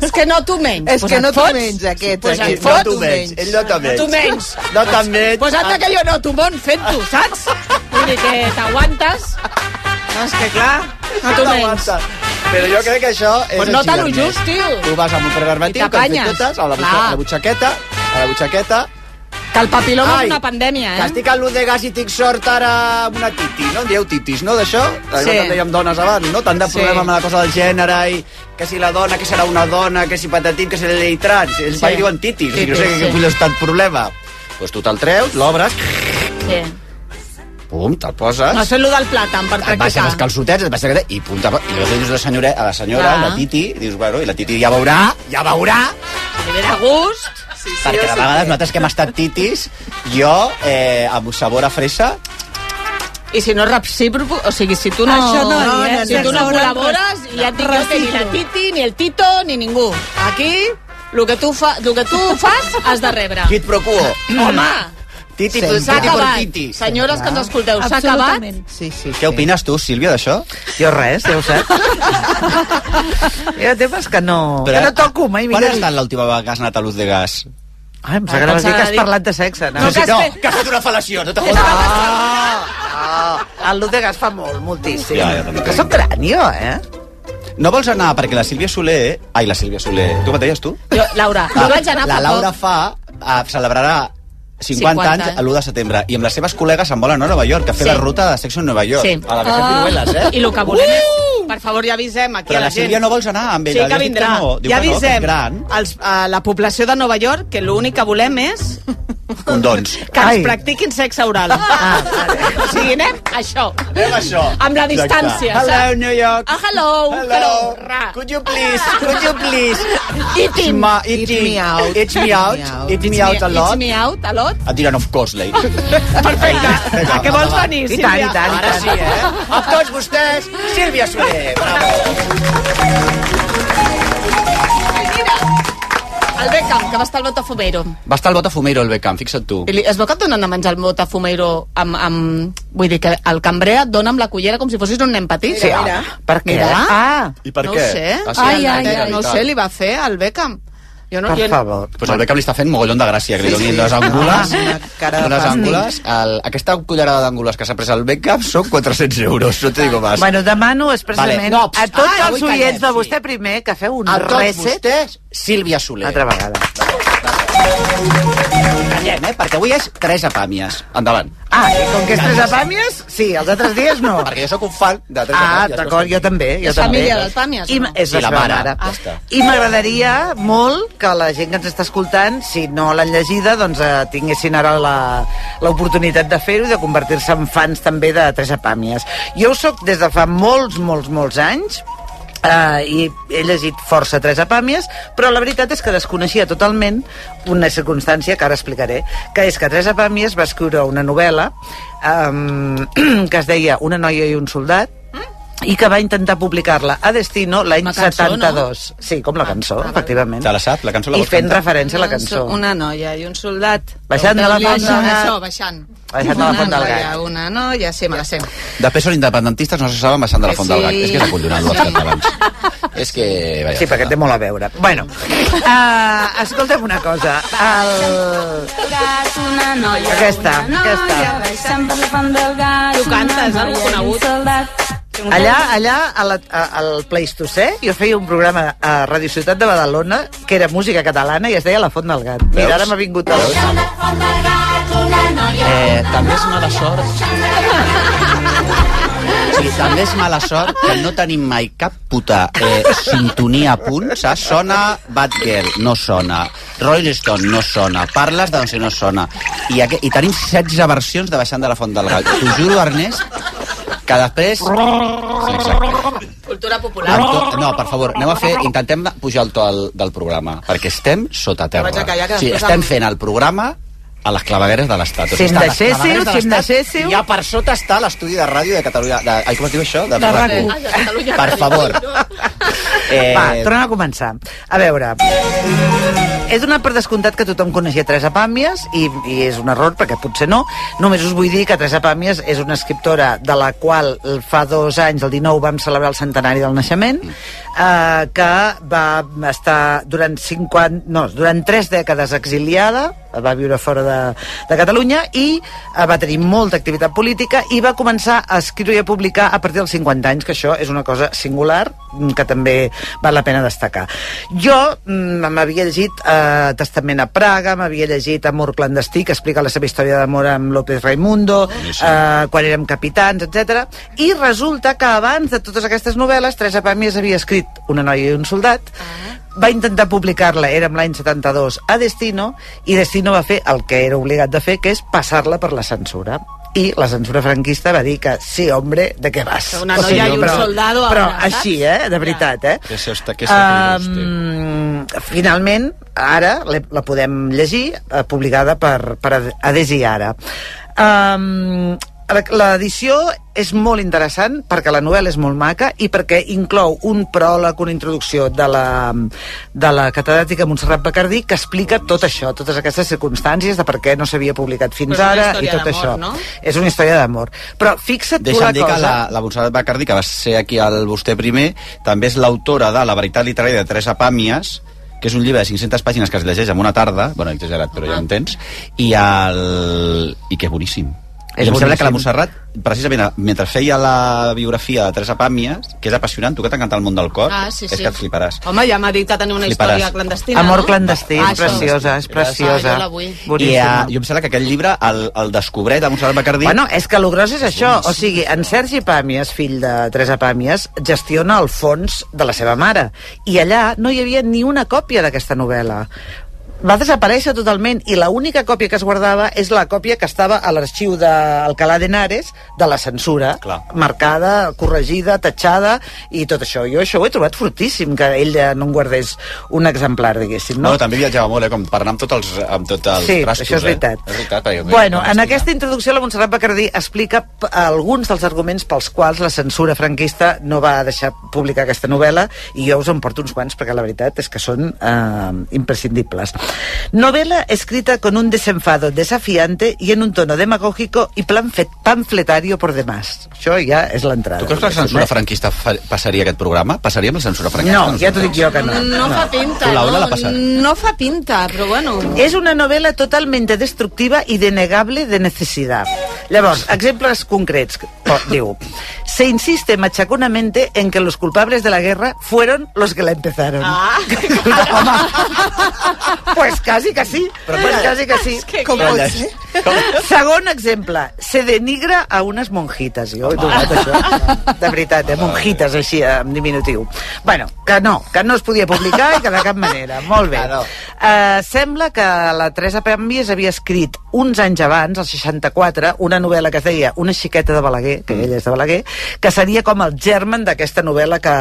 Speaker 5: És que no tu menys.
Speaker 8: És
Speaker 5: Pues
Speaker 8: que
Speaker 5: et
Speaker 8: no t'ho
Speaker 5: fots,
Speaker 8: menys, aquest.
Speaker 5: Pues
Speaker 8: aquest.
Speaker 5: et fots.
Speaker 2: tu menys, ell no t'ho menys.
Speaker 5: Tu menys.
Speaker 2: No t'ho menys.
Speaker 5: Pues anda que jo no, tu bon fent-ho, saps? Vull dir que t'aguantes. No, és que clar, no tu menys.
Speaker 2: Aguanta. Però jo crec que això és
Speaker 5: Pues no
Speaker 2: així,
Speaker 5: tant lo
Speaker 2: Ernest.
Speaker 5: just, tio.
Speaker 2: Tu vas amb un preservatiu,
Speaker 5: I
Speaker 2: que et
Speaker 5: t'apanyes.
Speaker 2: totes, a la, butxa,
Speaker 5: Clar.
Speaker 2: a la butxaqueta, a la butxaqueta,
Speaker 5: Que el papiloma
Speaker 2: Ai,
Speaker 5: és una pandèmia,
Speaker 2: Que
Speaker 5: eh?
Speaker 2: estic al luz de gas i tinc sort ara amb una titi, no? En dieu titis, no, d'això?
Speaker 5: Sí.
Speaker 2: Sí. Que dèiem dones abans, no? Tant de
Speaker 5: Sí.
Speaker 2: problema amb la cosa del gènere i que si la dona, que serà una dona, que si patatim, que serà llei trans. Ells
Speaker 5: Sí.
Speaker 2: sí. diuen titis, o sigui, no sé
Speaker 5: Titis,
Speaker 2: què
Speaker 5: sí.
Speaker 2: sí. és tant problema. Doncs pues tu te'l treus, l'obres,
Speaker 5: Sí.
Speaker 2: Eh? pum, te'l poses...
Speaker 5: No, això és lo del plàtan, per
Speaker 2: et baixes
Speaker 5: practicar.
Speaker 2: els calçotets, et baixes aquest, i punta, i llavors li dius a la senyora, a la senyora,
Speaker 5: Clar.
Speaker 2: la Titi, dius, bueno, i la Titi ja veurà, ja veurà,
Speaker 5: Si li ve de gust...
Speaker 2: sí, perquè de vegades nosaltres que hem estat titis, jo, eh, amb sabor a fressa,
Speaker 5: I si no és recíproc, o sigui, si tu no...
Speaker 12: Això no, ni és eh,
Speaker 5: si tu no
Speaker 12: restaurant,
Speaker 5: col·labores,
Speaker 12: res-
Speaker 5: ja et dic jo que ni la
Speaker 12: recíproc.
Speaker 5: Titi, ni el Tito, ni ningú. Aquí, el que tu, fa, el que tu fas has de rebre.
Speaker 2: Quid pro quo.
Speaker 5: Home,
Speaker 2: Titi,
Speaker 9: Sempre.
Speaker 2: titi
Speaker 5: s'ha
Speaker 2: por
Speaker 5: acabat.
Speaker 2: titi.
Speaker 5: Senyores que ens escolteu, s'ha acabat.
Speaker 12: Absolutament.
Speaker 8: Sí, sí,
Speaker 2: Què opines tu, Sílvia, d'això?
Speaker 6: Jo res, ja ho saps. jo temes que no...
Speaker 2: Però-
Speaker 6: que no toco mai,
Speaker 2: Quan
Speaker 6: mira.
Speaker 2: has estat l'última vegada que has anat a Luz de Gas? Ah,
Speaker 6: Ai, em sembla que vas dir que has parlat de sexe. No,
Speaker 2: No,
Speaker 6: no
Speaker 2: sí,
Speaker 6: que...
Speaker 2: no, que has fet una fel·lació, no te fotis.
Speaker 6: Ah, ah, el Luz de Gas fa molt, moltíssim.
Speaker 2: Ja, ja, també.
Speaker 6: que sóc crànio, eh?
Speaker 2: No vols anar perquè la Sílvia Soler... Ai, la Sílvia Soler... Tu com et deies, tu?
Speaker 5: Jo, Laura, jo vaig anar
Speaker 2: la
Speaker 5: fa
Speaker 2: Laura
Speaker 5: poc.
Speaker 2: fa eh, celebrarà 50,
Speaker 5: 50
Speaker 2: anys
Speaker 5: anys.
Speaker 2: l'1 de setembre i amb les seves col·legues se'n volen a Nova York a fer
Speaker 5: Sí.
Speaker 2: la ruta de Section Nova York
Speaker 5: Sí.
Speaker 2: a la Vicente
Speaker 12: Ah.
Speaker 2: Viruelas, eh?
Speaker 5: I el que volem
Speaker 12: Uh!
Speaker 5: és... Per favor, ja avisem aquí
Speaker 2: Però
Speaker 5: a
Speaker 2: la
Speaker 5: la gent.
Speaker 2: Sílvia no vols anar amb
Speaker 5: Sí,
Speaker 2: ella.
Speaker 5: que
Speaker 2: li has dit
Speaker 5: vindrà.
Speaker 2: No. Diu
Speaker 5: ja
Speaker 2: que no, que és
Speaker 5: avisem
Speaker 2: gran.
Speaker 5: als, a la població de Nova York que l'únic que volem és
Speaker 2: Condons.
Speaker 5: que ens
Speaker 6: Ai.
Speaker 5: practiquin sexe oral. Ah, o sigui, anem a això.
Speaker 2: Anem a això.
Speaker 5: Amb la distància.
Speaker 2: Exacte.
Speaker 5: saps?
Speaker 2: New York.
Speaker 5: Ah, hello.
Speaker 2: Hello.
Speaker 5: Ra.
Speaker 2: Could you please, could you please...
Speaker 5: Eat him.
Speaker 2: Ma,
Speaker 8: Eat me out.
Speaker 2: Eat me out. Eat me out a lot.
Speaker 5: It's me Ah. out a lot.
Speaker 2: Et diran, of course, lady.
Speaker 5: Perfecte.
Speaker 2: Vinga,
Speaker 5: A què vols
Speaker 2: va, va.
Speaker 5: venir,
Speaker 6: I
Speaker 5: Sílvia?
Speaker 6: tant, i tant.
Speaker 2: Ara sí, eh? Amb tots vostès, Sílvia Soler. Bravo.
Speaker 5: El Beckham, que va estar al Botafumeiro.
Speaker 2: Va estar el Botafumeiro, el Beckham, fixa't tu.
Speaker 5: I li- Es veu que et donen a menjar el Botafumeiro amb, amb... Vull dir que el cambrer et dona amb la cullera com si fossis un nen petit.
Speaker 6: Sí, ah, per què?
Speaker 5: Mira.
Speaker 6: Ah,
Speaker 2: I per
Speaker 5: no
Speaker 2: què?
Speaker 5: ho sé.
Speaker 2: Ah, sí?
Speaker 12: Ai, ai, ai.
Speaker 5: No ho sé, li va fer al Beckham. Jo no,
Speaker 6: per
Speaker 5: jo,
Speaker 6: favor.
Speaker 2: Pues el Beckham li està fent mogollon de gràcia, que li donin les angules.
Speaker 8: Una cara de
Speaker 2: Unes
Speaker 8: fàstic.
Speaker 2: angules. El, aquesta cullerada d'angules que s'ha pres al Beckham són 400 euros, no te digo más.
Speaker 6: Bueno, demano expressament
Speaker 2: Vale. No,
Speaker 6: a tots
Speaker 2: ah,
Speaker 6: els
Speaker 2: avui
Speaker 6: oients
Speaker 2: callem,
Speaker 6: de
Speaker 2: sí.
Speaker 6: vostè primer que feu un
Speaker 2: a tots
Speaker 6: reset
Speaker 2: vostès, Sílvia Soler.
Speaker 6: altra vegada.
Speaker 2: Callem, eh? Perquè avui és tres apàmies. Endavant.
Speaker 6: Ah, i com que és tres apàmies, sí, els altres dies no.
Speaker 2: Perquè jo sóc un fan de tres
Speaker 6: Ah,
Speaker 2: apàmies.
Speaker 6: d'acord, jo també. Jo
Speaker 5: És
Speaker 6: també.
Speaker 5: família dels Pàmies,
Speaker 6: I,
Speaker 5: o no?
Speaker 6: És
Speaker 2: I
Speaker 6: la,
Speaker 2: la
Speaker 6: seva
Speaker 2: mare.
Speaker 6: mare.
Speaker 2: Ah. Ja està.
Speaker 6: I m'agradaria molt que la gent que ens està escoltant, si no l'han llegida, doncs eh, tinguessin ara la- l'oportunitat de fer-ho i de convertir-se en fans també de Tres Apàmies. Jo ho soc des de fa molts, molts, molts anys, Uh, i he llegit força tres apàmies però la veritat és que desconeixia totalment una circumstància que ara explicaré que és que tres apàmies va escriure una novel·la um, que es deia Una noia i un soldat i que va intentar publicar-la a Destino l'any
Speaker 5: Una cançó,
Speaker 6: 72 sí, com la cançó, efectivament
Speaker 2: Te la sap? Ah. La cançó la
Speaker 6: i
Speaker 2: vols
Speaker 6: fent
Speaker 2: cantar?
Speaker 6: referència a la
Speaker 5: Una
Speaker 6: cançó
Speaker 5: so- Una noia i Doncs un soldat.
Speaker 6: Baixant de la font
Speaker 5: Pregunteu-li
Speaker 6: del
Speaker 5: això,
Speaker 6: Gat.
Speaker 5: Això, baixant.
Speaker 6: Baixant de la
Speaker 5: Una
Speaker 6: font del
Speaker 5: noia,
Speaker 6: Gat.
Speaker 5: Una noia, sí, me la sé.
Speaker 2: Després són independentistes, no se saben baixant de la font del Gac.
Speaker 5: Sí.
Speaker 2: És que és acollonant, els catalans. És que... Vaja,
Speaker 6: Sí, perquè té molt a veure. Bueno, uh, escolta'm una cosa. El...
Speaker 13: gat, una noia,
Speaker 6: Aquesta,
Speaker 13: una noia,
Speaker 6: aquesta.
Speaker 13: baixant per la font del gat,
Speaker 5: Tu cantes,
Speaker 13: una
Speaker 5: algú
Speaker 13: noia i un
Speaker 5: conegut.
Speaker 13: soldat.
Speaker 6: Allà, allà a la, a, al Pleistocè, jo feia un programa a Radio Ciutat de Badalona que era música catalana i es deia La Font del Gat. Mira, ara m'ha vingut el...
Speaker 2: Eh, també és mala sort... Sí, també és mala sort que no tenim mai cap puta eh, sintonia a punt, saps? Sona Bad Girl, no sona. Rolling Stone, no sona. Parles de doncs no sona. I, aqu- I tenim 16 versions de Baixant de la Font del Gall. T'ho juro, Ernest, que després... Sí, exacte.
Speaker 5: Cultura popular.
Speaker 2: Amb to- No, per favor, anem a fer... Intentem pujar el to del, del programa, perquè estem sota terra.
Speaker 8: Vaig a callar, que
Speaker 2: sí,
Speaker 8: després
Speaker 2: estem
Speaker 8: em-
Speaker 2: fent el programa a les clavegueres de l'Estat. O
Speaker 6: Si em
Speaker 2: estan les
Speaker 6: deixéssiu,
Speaker 2: clavegueres de
Speaker 6: si em
Speaker 2: l'Estat,
Speaker 6: deixéssiu.
Speaker 2: I a per sota està l'estudi de ràdio de Catalunya... De, ai, com es diu això? De, RAC1.
Speaker 5: Ah, de Catalunya
Speaker 2: Per
Speaker 5: Ràdio.
Speaker 2: favor.
Speaker 6: Eh... Va, tornem a començar. A veure, he donat per descomptat que tothom coneixia Teresa Pàmies i, i és un error perquè potser no. Només us vull dir que Teresa Pàmies és una escriptora de la qual fa dos anys, el 19, vam celebrar el centenari del naixement, eh, que va estar durant 50, no, durant tres dècades exiliada, va viure fora de, de Catalunya i eh, va tenir molta activitat política i va començar a escriure i a publicar a partir dels 50 anys, que això és una cosa singular mm, que també val la pena destacar. Jo mm, m'havia llegit eh, Testament a Praga, m'havia llegit Amor clandestí, que explica la seva història d'amor amb López Raimundo, eh, quan érem capitans, etc. I resulta que abans de totes aquestes novel·les, Teresa Pàmies havia escrit Una noia i un soldat,
Speaker 5: Ah.
Speaker 6: va intentar publicar-la, érem l'any 72, a Destino, i Destino va fer el que era obligat de fer, que és passar-la per la censura. I la censura franquista va dir que sí, hombre, de què vas?
Speaker 5: Una noia i un soldado
Speaker 6: Però
Speaker 5: abrazats.
Speaker 6: així, eh? De veritat, eh?
Speaker 2: Que se hosta- que se
Speaker 14: Ah,
Speaker 2: ríe usted.
Speaker 6: Ehm, finalment, ara la, la podem llegir, eh, publicada per, per Adesi Ara. Um, L'edició és molt interessant perquè la novel·la és molt maca i perquè inclou un pròleg, una introducció de la, de la catedràtica Montserrat Bacardí que explica tot això, totes aquestes circumstàncies de per què no s'havia publicat fins
Speaker 5: Però és
Speaker 6: ara
Speaker 5: una
Speaker 6: i
Speaker 5: història
Speaker 6: tot
Speaker 5: d'amor,
Speaker 6: això.
Speaker 5: no?
Speaker 6: És una història d'amor. Però fixa't tu
Speaker 2: Deixa'm
Speaker 6: la
Speaker 2: dir que
Speaker 6: cosa...
Speaker 2: la, la Montserrat Bacardí, que va ser aquí al Vostè primer, també és l'autora de La veritat literària de Teresa Pàmies, que és un llibre de 500 pàgines que es llegeix en una tarda, bueno, he exagerat, però ja entens, i, el... i que és boníssim.
Speaker 6: És
Speaker 2: És I em sembla
Speaker 6: boníssim.
Speaker 2: que la Montserrat, precisament, mentre feia la biografia de Teresa Pàmies, que és apassionant, tu que t'encanta el món del cor,
Speaker 5: Ah, sí,
Speaker 2: és
Speaker 5: sí.
Speaker 2: que et fliparàs.
Speaker 5: Home, ja m'ha dit que tenia una
Speaker 2: Fliparàs.
Speaker 5: història clandestina,
Speaker 6: Amor
Speaker 5: no?
Speaker 6: clandestí,
Speaker 5: Ah,
Speaker 6: és
Speaker 5: això.
Speaker 6: preciosa, és preciosa.
Speaker 5: Ah, jo la vull.
Speaker 2: I
Speaker 6: Boníssima.
Speaker 2: uh, jo em sembla que aquest llibre, el, el descobret de Montserrat Bacardí...
Speaker 6: Bueno, és que el gros és això. O sigui, en Sergi Pàmies, fill de Teresa Pàmies, gestiona el fons de la seva mare. I allà no hi havia ni una còpia d'aquesta novel·la. Va desaparèixer totalment i la única còpia que es guardava és la còpia que estava a l'arxiu d'Alcalá de Henares de la censura,
Speaker 2: Clar.
Speaker 6: marcada, corregida, tatxada i tot això. Jo això ho he trobat fortíssim, que ell eh, no en guardés un exemplar, diguéssim.
Speaker 2: No,
Speaker 6: No?
Speaker 2: també viatjava molt, eh, com per anar amb tots els, amb tot els
Speaker 6: Sí,
Speaker 2: trastos,
Speaker 6: això és veritat.
Speaker 2: Eh? És veritat perquè,
Speaker 6: Bueno, en
Speaker 2: Estic-
Speaker 6: aquesta introducció la Montserrat Bacardí explica p- alguns dels arguments pels quals la censura franquista no va deixar publicar aquesta novel·la i jo us en porto uns quants perquè la veritat és que són eh, imprescindibles. Novela escrita con un desenfado desafiante y en un tono demagógico y planfe- panfletario por demás. Això ja és l'entrada.
Speaker 2: Tu creus que la censura franquista fa- passaria aquest programa? Passaria amb la censura franquista?
Speaker 6: No, ja t'ho dic jo que no.
Speaker 5: No fa pinta,
Speaker 2: Tu, Laura, l'ha
Speaker 5: no,
Speaker 2: passat.
Speaker 5: no fa pinta, però bueno...
Speaker 6: Es una novela totalmente destructiva y denegable de necesidad. Llavors, exemples concrets. Oh, diu, se insiste machaconamente en que los culpables de la guerra fueron los que la empezaron.
Speaker 5: Ah,
Speaker 6: Pues casi que sí. pues casi que sí.
Speaker 8: Com pot ser?
Speaker 6: Segon exemple, se denigra a unes monjites. Jo he trobat això. De veritat, eh? monjites, així, en diminutiu. Bueno, que no, que no es podia publicar i que de cap manera. Molt bé.
Speaker 2: Claro.
Speaker 6: Eh, sembla que la Teresa Pàmies havia escrit uns anys abans, el 64, una novel·la que es deia Una xiqueta de Balaguer, que ella és de Balaguer, que seria com el germen d'aquesta novel·la que,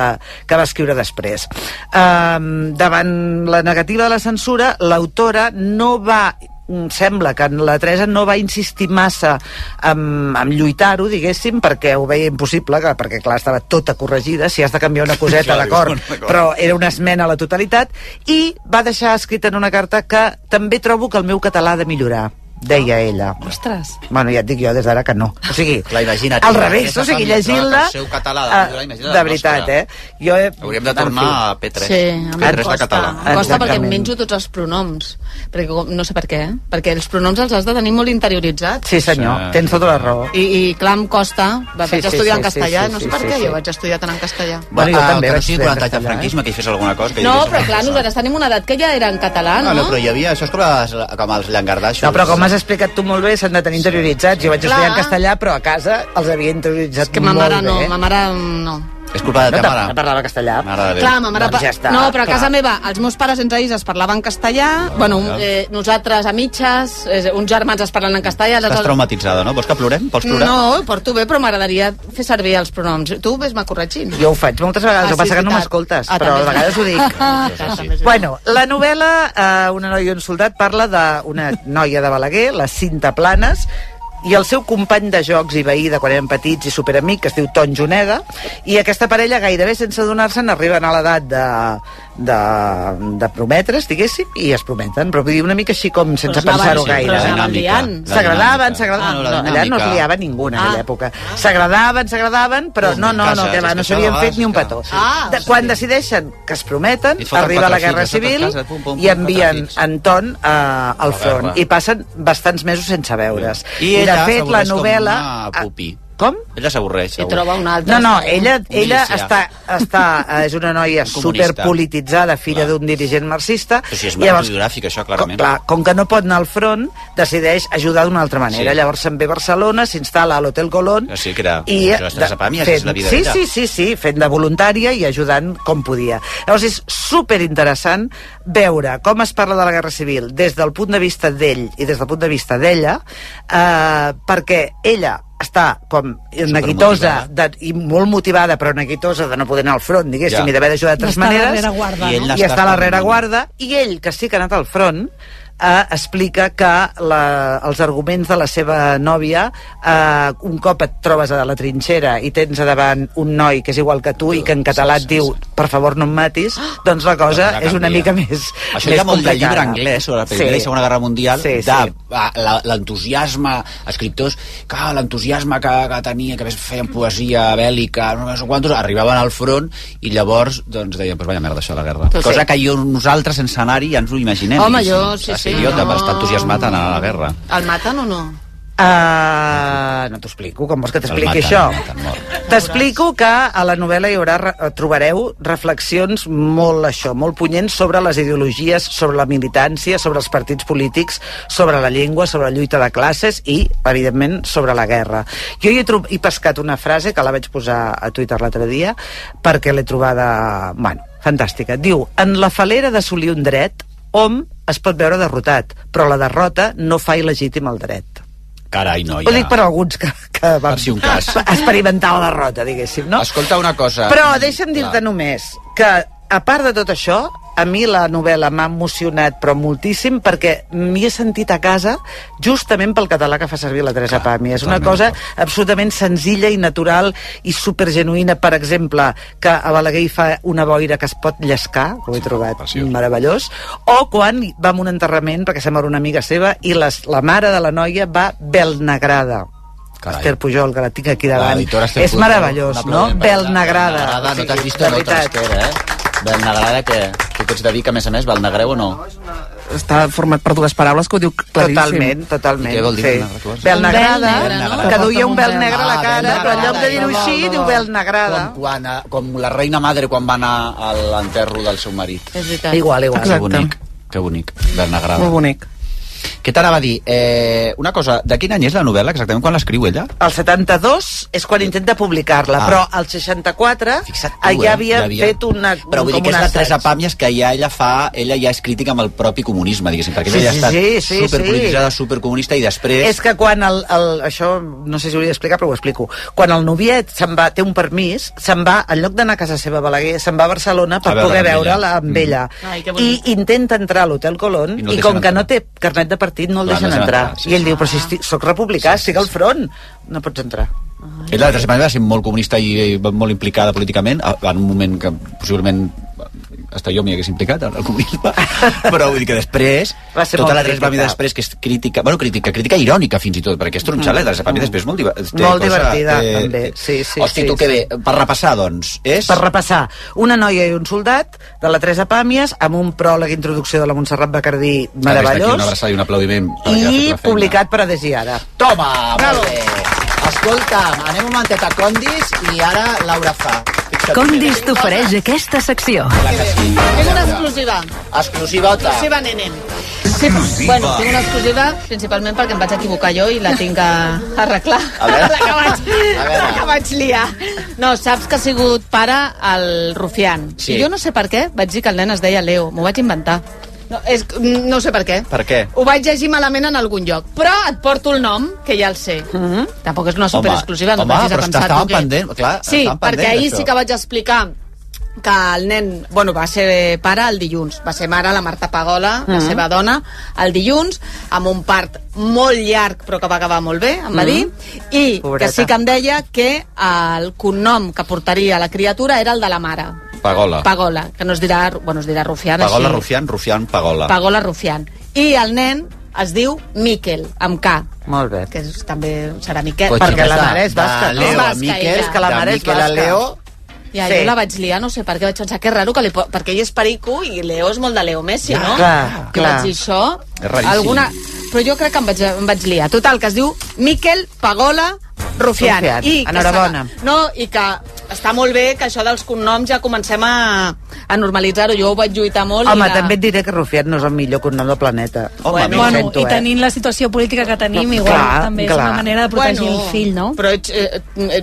Speaker 6: que va escriure després. Um, davant la negativa de la censura, l'autora no va mm, sembla que la Teresa no va insistir massa en, en lluitar-ho, diguéssim, perquè ho veia impossible, que, perquè clar, estava tota corregida, si has de canviar una coseta,
Speaker 2: Clar,
Speaker 6: d'acord,
Speaker 2: dius, bueno,
Speaker 6: però era una esmena a la totalitat, i va deixar escrita en una carta que també trobo que el meu català ha de millorar, deia ella.
Speaker 12: Ostres.
Speaker 6: Bueno, ja et dic jo des d'ara que no. O sigui,
Speaker 2: Clar, imagina't.
Speaker 6: al revés, o sigui,
Speaker 2: Aquesta
Speaker 6: llegint-la...
Speaker 2: família troba que el seu català ha de
Speaker 6: ah,
Speaker 2: millorar, imagina't
Speaker 6: de
Speaker 2: el
Speaker 6: veritat,
Speaker 2: nostre.
Speaker 6: eh? Jo he...
Speaker 2: Hauríem de tornar
Speaker 6: En fi.
Speaker 2: a P3.
Speaker 5: Sí, a mi em
Speaker 2: P3 de
Speaker 5: costa.
Speaker 2: català.
Speaker 5: Em costa perquè em
Speaker 6: Exactament.
Speaker 5: menjo tots els pronoms. Perquè, com- no sé per què, eh? perquè els pronoms els has de tenir molt interioritzats.
Speaker 6: Sí, senyor,
Speaker 2: Sí.
Speaker 6: tens tota la raó.
Speaker 5: I, i clar, em costa. Va-
Speaker 6: Sí,
Speaker 5: Vaig
Speaker 6: sí,
Speaker 5: estudiar en
Speaker 6: sí, sí,
Speaker 5: castellà,
Speaker 6: sí,
Speaker 5: no
Speaker 6: sí,
Speaker 5: sé per
Speaker 6: sí,
Speaker 5: què
Speaker 6: sí.
Speaker 5: jo vaig estudiar tant en castellà.
Speaker 6: Bueno, jo
Speaker 2: ah,
Speaker 6: també
Speaker 2: que no
Speaker 6: vaig eh?
Speaker 2: sigui
Speaker 6: fer
Speaker 2: 40 anys de
Speaker 6: castellà,
Speaker 2: franquisme, que hi fes alguna cosa... Que hi
Speaker 5: No,
Speaker 2: digués
Speaker 5: però
Speaker 2: alguna
Speaker 5: clar,
Speaker 2: cosa.
Speaker 5: nosaltres tenim una edat que ja era en català,
Speaker 2: Ah, no,
Speaker 5: no?
Speaker 2: però hi havia... Això és com, les, com els llangardaixos.
Speaker 6: No, però com has explicat tu molt bé, s'han de tenir interioritzats. Jo vaig
Speaker 5: Clar.
Speaker 6: estudiar en castellà, però a casa els havia interioritzat
Speaker 5: Que ma
Speaker 6: molt
Speaker 5: mare no,
Speaker 6: bé.
Speaker 5: ma mare mm, no.
Speaker 2: És culpa de
Speaker 6: No
Speaker 2: ta
Speaker 6: te- no
Speaker 2: mare.
Speaker 6: parlava castellà.
Speaker 2: Mare de Déu.
Speaker 5: Clar, ma mare...
Speaker 6: Doncs
Speaker 5: pa-
Speaker 6: ja està,
Speaker 5: no,
Speaker 6: clar.
Speaker 5: però a
Speaker 6: Ah,
Speaker 5: casa meva els meus pares entre ells es parlaven castellà, bueno,
Speaker 2: ja.
Speaker 5: eh, nosaltres a mitges, eh, uns germans es parlen en castellà... els
Speaker 2: Estàs
Speaker 5: altres-
Speaker 2: traumatitzada, no? Vols que plorem? Vols plorar?
Speaker 5: No, ho porto bé, però m'agradaria fer servir els pronoms. Tu ves-me corregint.
Speaker 6: Jo ho faig moltes vegades,
Speaker 5: Ah,
Speaker 6: el que passa
Speaker 5: sí,
Speaker 6: que no
Speaker 5: veritat.
Speaker 6: m'escoltes,
Speaker 5: Ah,
Speaker 6: però
Speaker 5: també
Speaker 6: a
Speaker 5: és
Speaker 6: vegades ho dic. Bueno, la novel·la eh, Una noia i un soldat parla d'una noia de Balaguer, la Cinta Planes, i el seu company de jocs i veí de quan eren petits i superamic, que es diu Ton Joneda, i aquesta parella gairebé sense adonar-se'n arriben a l'edat de, de, de prometre's, diguéssim, i es prometen, però vull dir una mica així com sense
Speaker 5: es anaven-
Speaker 6: pensar-ho
Speaker 5: però
Speaker 6: gaire.
Speaker 5: es
Speaker 6: eh?
Speaker 5: anaven liant.
Speaker 2: La
Speaker 6: S'agradaven,
Speaker 2: dinàmica.
Speaker 6: s'agradaven...
Speaker 2: Ah,
Speaker 6: No,
Speaker 2: la
Speaker 6: allà no es
Speaker 2: dinàmica.
Speaker 6: liava ningú en aquella
Speaker 5: Ah.
Speaker 6: època. S'agradaven, s'agradaven, però
Speaker 2: Home,
Speaker 6: no, no, no,
Speaker 2: cases,
Speaker 6: que va,
Speaker 2: és
Speaker 6: no
Speaker 2: que
Speaker 6: s'havien
Speaker 2: això de
Speaker 6: fet ni un
Speaker 2: vegades
Speaker 6: petó.
Speaker 2: que-
Speaker 5: Ah,
Speaker 6: De- Quan decideixen que es prometen,
Speaker 2: I foten
Speaker 6: arriba
Speaker 2: quatre
Speaker 6: la Guerra
Speaker 2: fills, ja
Speaker 6: Civil
Speaker 2: foten casa, pum, pum, pum,
Speaker 6: i envien
Speaker 2: quatre fills.
Speaker 6: Anton eh, al
Speaker 2: la
Speaker 6: front.
Speaker 2: guerra.
Speaker 6: I passen bastants mesos sense veure's.
Speaker 2: I
Speaker 6: de
Speaker 2: ella
Speaker 6: fet, la
Speaker 2: s'avorreix com
Speaker 6: novel·la...
Speaker 2: una pupi.
Speaker 6: Com?
Speaker 2: Ella s'avorreix,
Speaker 5: I
Speaker 2: segur.
Speaker 5: troba un altre.
Speaker 6: No, no, ella, ella
Speaker 2: milicià.
Speaker 6: està, està, eh, és una noia
Speaker 2: comunista.
Speaker 6: superpolititzada, filla
Speaker 2: Clar.
Speaker 6: d'un dirigent marxista.
Speaker 2: Però si és
Speaker 6: llavors-
Speaker 2: autobiogràfic, això,
Speaker 6: com-
Speaker 2: clarament.
Speaker 6: Clar, com que no pot anar al front, decideix ajudar d'una altra manera.
Speaker 2: Sí.
Speaker 6: Llavors se'n ve a Barcelona, s'instal·la a l'Hotel Colón...
Speaker 2: O sigui que era-
Speaker 6: i,
Speaker 2: això és Teresa Pàmies, és la vida
Speaker 6: sí,
Speaker 2: d'ella.
Speaker 6: sí, sí, sí, fent de voluntària i ajudant com podia. Llavors és superinteressant veure com es parla de la Guerra Civil des del punt de vista d'ell i des del punt de vista d'ella, eh, perquè ella està com neguitosa de, i molt motivada però neguitosa de no poder anar al front, diguéssim,
Speaker 2: Ja.
Speaker 6: ja. i d'haver d'ajudar de tres
Speaker 12: Està
Speaker 6: maneres
Speaker 12: darrere guarda,
Speaker 2: I ell
Speaker 12: no?
Speaker 2: n'està
Speaker 6: i està a la
Speaker 2: com-
Speaker 6: rereguarda i ell, que sí que ha anat al front eh, eh, explica que la, els arguments de la seva nòvia, eh, un cop et trobes a la trinxera i tens a davant un noi que és igual que tu i que en català et diu, per favor no em matis, doncs la cosa
Speaker 2: Doncs ja
Speaker 6: és una mica
Speaker 2: canvia.
Speaker 6: més
Speaker 2: Això
Speaker 6: més
Speaker 2: hi ha molt de
Speaker 6: complicada.
Speaker 2: llibre anglès sobre la Primera
Speaker 6: Sí.
Speaker 2: sí. i Segona Guerra Mundial,
Speaker 6: Sí,
Speaker 2: sí,
Speaker 6: sí.
Speaker 2: sí. de ah, la- l'entusiasme, escriptors, que ah, l'entusiasme que, que tenia, que a més feien poesia bèl·lica, no sé quantos, arribaven al front i llavors doncs, deien, pues vaya merda, això, la guerra.
Speaker 5: Tot
Speaker 2: Cosa
Speaker 5: sí.
Speaker 2: que jo, nosaltres, sense anar-hi, ja ens ho imaginem.
Speaker 5: Home,
Speaker 2: diguéssim.
Speaker 5: jo, sí,
Speaker 2: Has
Speaker 5: sí,
Speaker 2: Idiota,
Speaker 5: no.
Speaker 2: per estar entusiasmat a anar a la guerra.
Speaker 5: El maten o no?
Speaker 6: Uh, no t'ho explico, com vols que t'expliqui
Speaker 2: El maten,
Speaker 6: això?
Speaker 2: el maten molt.
Speaker 6: T'explico que a la novel·la hi haurà, re- eh, trobareu reflexions molt això, molt punyents sobre les ideologies, sobre la militància, sobre els partits polítics, sobre la llengua, sobre la lluita de classes i, evidentment, sobre la guerra. Jo hi he, trob- he pescat una frase que la vaig posar a Twitter l'altre dia perquè l'he trobada, bueno, fantàstica. Diu, en la falera d'assolir un dret, hom es pot veure derrotat, però la derrota no fa il·legítim el dret.
Speaker 2: Carai, noia.
Speaker 6: Ho dic per alguns que, que vam
Speaker 2: si un cas.
Speaker 6: experimentar la derrota, diguéssim, no?
Speaker 2: Escolta una cosa.
Speaker 6: Però deixa'm dir-te
Speaker 2: Clar.
Speaker 6: només que, a part de tot això, a mi la novel·la m'ha emocionat però moltíssim perquè m'hi he sentit a casa justament pel català que fa servir la Teresa Pàmia. És una cosa absolutament senzilla i natural i supergenuïna. Per exemple, que a Balaguer hi fa una boira que es pot llescar, que ho he trobat meravellós, o quan va a un enterrament perquè se mor una amiga seva i les, la mare de la noia va belnegrada.
Speaker 2: Carai.
Speaker 6: Esther Pujol, que la tinc aquí davant.
Speaker 2: L'editora Esther
Speaker 6: És
Speaker 2: Pujol,
Speaker 6: meravellós,
Speaker 2: un
Speaker 6: no?
Speaker 2: aplaudiment.
Speaker 6: Belnegrada.
Speaker 2: Belnegrada, no
Speaker 6: O
Speaker 2: t'has
Speaker 6: sigui,
Speaker 2: vist
Speaker 6: de
Speaker 2: en altra
Speaker 6: veritat.
Speaker 2: esquerra, eh? Belnegrada, que tu que ets de Vic, a més a més, Belnegreu o no?
Speaker 8: Està format per dues paraules que ho diu claríssim.
Speaker 6: Totalment, totalment.
Speaker 2: I què vol dir
Speaker 6: sí.
Speaker 2: Belnegrada?
Speaker 6: Belnegrada,
Speaker 2: Un vel negre, no?
Speaker 6: que duia un vel negre a la
Speaker 2: Ah,
Speaker 6: cara,
Speaker 2: Belnegrada.
Speaker 6: però en lloc de dir-ho així, diu Belnegrada.
Speaker 2: Com, quan,
Speaker 14: ah,
Speaker 2: eh, com la reina madre quan va anar a l'enterro del seu marit.
Speaker 5: És veritat.
Speaker 6: Igual, igual.
Speaker 2: Que bonic, que bonic, Belnegrada.
Speaker 8: Molt bonic.
Speaker 2: Què t'anava a dir? Eh, una cosa, de quin any és la novel·la exactament quan l'escriu ella?
Speaker 6: El 72 és quan intenta publicar-la,
Speaker 2: Ah.
Speaker 6: però el 64
Speaker 2: Fixa't tu,
Speaker 6: ah, ja
Speaker 2: eh?
Speaker 6: havia,
Speaker 2: Ja havia-
Speaker 6: fet una...
Speaker 2: Però vull dir
Speaker 6: com
Speaker 2: que és
Speaker 6: un
Speaker 2: la
Speaker 6: assaig.
Speaker 2: Teresa Pàmies que ja ella fa, ella ja és crítica amb el propi comunisme, diguéssim, perquè
Speaker 6: Sí,
Speaker 2: ella
Speaker 6: sí,
Speaker 2: ha estat
Speaker 6: sí, sí, sí.
Speaker 2: superpolititzada, supercomunista i després...
Speaker 6: És que quan el, el, això, no sé si ho hauria d'explicar, però ho explico. Quan el noviet se'n va, té un permís, se'n va, en lloc d'anar a casa seva a Balaguer, se'n va a Barcelona per
Speaker 2: A veure
Speaker 6: poder
Speaker 2: amb Mm.
Speaker 6: veure-la amb ella.
Speaker 5: Ai, que
Speaker 6: I
Speaker 5: bonic.
Speaker 6: intenta entrar a l'hotel Colón
Speaker 2: I
Speaker 6: i,
Speaker 2: no el
Speaker 6: com
Speaker 2: deixen
Speaker 6: que
Speaker 2: entrar.
Speaker 6: no té carnet de partit no el
Speaker 2: Clar,
Speaker 6: deixen entrar.
Speaker 2: sí,
Speaker 6: I ell
Speaker 2: sí.
Speaker 6: diu, però si estic, soc republicà, estic al front. No pots entrar.
Speaker 2: Ella, de va ser molt comunista i, i molt implicada políticament, a- en un moment que possiblement hasta jo m'hi hagués implicat en el comunisme, però vull dir que després,
Speaker 6: Va ser
Speaker 2: tota
Speaker 6: molt
Speaker 2: la Teresa Pàmia
Speaker 6: crítica.
Speaker 2: després, que és crítica, bueno, crítica, crítica irònica fins i tot, perquè és tronxada, la Teresa Pàmia després és molt, diva- té
Speaker 6: Mm. Molt divertida, també. Sí, sí,
Speaker 2: Hosti,
Speaker 6: sí,
Speaker 2: tu
Speaker 6: sí.
Speaker 2: que bé, per repassar, doncs, és...
Speaker 6: Per repassar, una noia i un soldat, de la Teresa Pàmies, amb un pròleg introducció de la Montserrat Bacardí
Speaker 2: Que des d'aquí Una
Speaker 6: meravellós,
Speaker 2: abraçada i un aplaudiment. perquè ha fet
Speaker 6: i
Speaker 2: la feina.
Speaker 6: publicat per Adesiada.
Speaker 2: Toma, molt bé. Escolta'm, anem un momentet a Condis i ara Laura fa. Fixa't
Speaker 10: Condis
Speaker 2: bé.
Speaker 10: t'ofereix aquesta secció.
Speaker 2: Clar que sí.
Speaker 5: És una exclusiva.
Speaker 2: Exclusivota.
Speaker 5: Exclusiva, nene. Sí, bueno, tinc una exclusiva principalment perquè em vaig equivocar jo i la tinc a a arreglar.
Speaker 2: A veure.
Speaker 5: La que vaig,
Speaker 2: A veure.
Speaker 5: la que vaig liar. No, saps que ha sigut pare el Rufián.
Speaker 2: Sí.
Speaker 5: I jo no sé per què vaig dir que el nen es deia Leo. M'ho vaig inventar. No, és, no sé per què.
Speaker 2: Per què?
Speaker 5: Ho vaig llegir malament en algun lloc. Però et porto el nom, que ja el sé. Mm -hmm. Tampoc és una superexclusiva, no
Speaker 2: Mhm. home,
Speaker 5: vagis a
Speaker 2: però
Speaker 5: pensar
Speaker 2: està- estàvem
Speaker 5: tu que...
Speaker 2: pendent, clar,
Speaker 5: sí,
Speaker 2: estàvem
Speaker 5: perquè
Speaker 2: pendent
Speaker 5: ahir
Speaker 2: d'això.
Speaker 5: sí que vaig explicar que el nen, bueno, va ser pare el dilluns, va ser mare la Marta Pagola, mm -hmm. la
Speaker 2: Mhm.
Speaker 5: seva dona, el dilluns, amb un part molt llarg però que va acabar molt bé, em
Speaker 2: Mhm.
Speaker 5: va dir, i
Speaker 6: Pobreta.
Speaker 5: que sí que em deia que el cognom que portaria la criatura era el de la mare,
Speaker 2: Pagola.
Speaker 5: Pagola, que no es dirà, bueno, es dirà Rufián,
Speaker 2: Pagola
Speaker 5: així.
Speaker 2: Rufián, Rufián Pagola.
Speaker 5: Pagola Rufián. I el nen es diu Miquel, amb K,
Speaker 6: Molt bé.
Speaker 5: que és, també serà Miquel.
Speaker 2: Pues
Speaker 6: Perquè la
Speaker 2: Està
Speaker 6: mare és basca,
Speaker 2: de
Speaker 6: no?
Speaker 2: Leo a
Speaker 5: Basca,
Speaker 2: Miquel,
Speaker 5: ella.
Speaker 6: És que la
Speaker 2: de
Speaker 6: mare és
Speaker 2: Miquel a
Speaker 6: basca.
Speaker 2: Leo.
Speaker 5: Ja,
Speaker 6: Sí.
Speaker 5: sí. jo la vaig liar, no sé per què, vaig pensar que és raro, que li, po- perquè ell és perico i Leo és molt de Leo Messi, no?
Speaker 6: clar,
Speaker 5: Jo
Speaker 6: clar.
Speaker 5: vaig dir això.
Speaker 2: És raríssim.
Speaker 5: Alguna... Però jo crec que em vaig, em vaig liar. Total, que es diu Miquel Pagola Rufián.
Speaker 6: Rufián.
Speaker 5: I que
Speaker 6: Enhorabona.
Speaker 5: s'ha- No, i que està molt bé que això dels cognoms ja comencem a, a normalitzar-ho. Jo ho vaig lluitar molt.
Speaker 6: Home,
Speaker 5: i la...
Speaker 6: també et diré que Rufián no és el millor cognom del planeta.
Speaker 2: Home,
Speaker 6: Ho
Speaker 12: bueno,
Speaker 6: sento,
Speaker 12: i
Speaker 6: eh?
Speaker 12: tenint la situació política que tenim,
Speaker 6: No,
Speaker 12: igual
Speaker 6: clar,
Speaker 12: també és
Speaker 6: clar.
Speaker 12: una manera de protegir el fill, no?
Speaker 5: Però ets, eh, eh,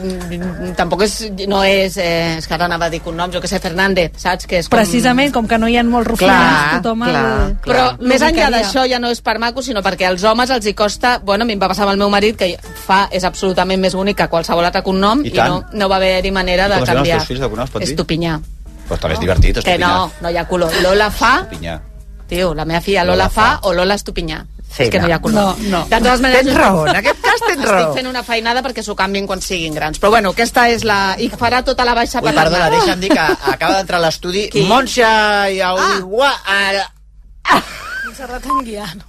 Speaker 5: mm, tampoc és, no és... Eh, és que ara anava a dir cognoms, jo que sé, Fernández, saps? Que és com...
Speaker 12: Precisament, com que no hi ha molts rufians,
Speaker 6: Clar,
Speaker 12: tothom...
Speaker 6: clar.
Speaker 12: el...
Speaker 5: Però
Speaker 12: Clar.
Speaker 5: més enllà
Speaker 12: Ubicaria.
Speaker 5: d'això ja no és per maco, sinó perquè als homes els hi costa... Bueno, a mi em va passar amb el meu marit, que fa és absolutament més bonic que qualsevol altre cognom,
Speaker 2: I
Speaker 5: i,
Speaker 2: tant.
Speaker 5: no, no va haver-hi manera
Speaker 2: I
Speaker 5: de
Speaker 2: com es diuen els
Speaker 5: canviar.
Speaker 2: teus fills de cognoms, pots dir?
Speaker 5: Estupinyà.
Speaker 2: Però també és divertit,
Speaker 5: Que
Speaker 2: estupinyar.
Speaker 5: no, no hi ha color. Lola fa
Speaker 2: Estupinyar.
Speaker 5: Tio, la meva filla Lola, fa, o Lola Estupinyà.
Speaker 6: Sí,
Speaker 5: és que no hi ha color.
Speaker 6: No, no.
Speaker 5: De totes maneres...
Speaker 6: Tens raó, en aquest cas tens raó.
Speaker 5: Estic fent una feinada perquè s'ho canvien quan siguin grans. Però bueno, aquesta és la... I farà tota la baixa
Speaker 2: Ui,
Speaker 5: paterna.
Speaker 2: perdona, deixa'm dir que acaba d'entrar a l'estudi
Speaker 5: Qui?
Speaker 2: Montse Iaoigua... Ah.
Speaker 12: Montserrat Anguiano.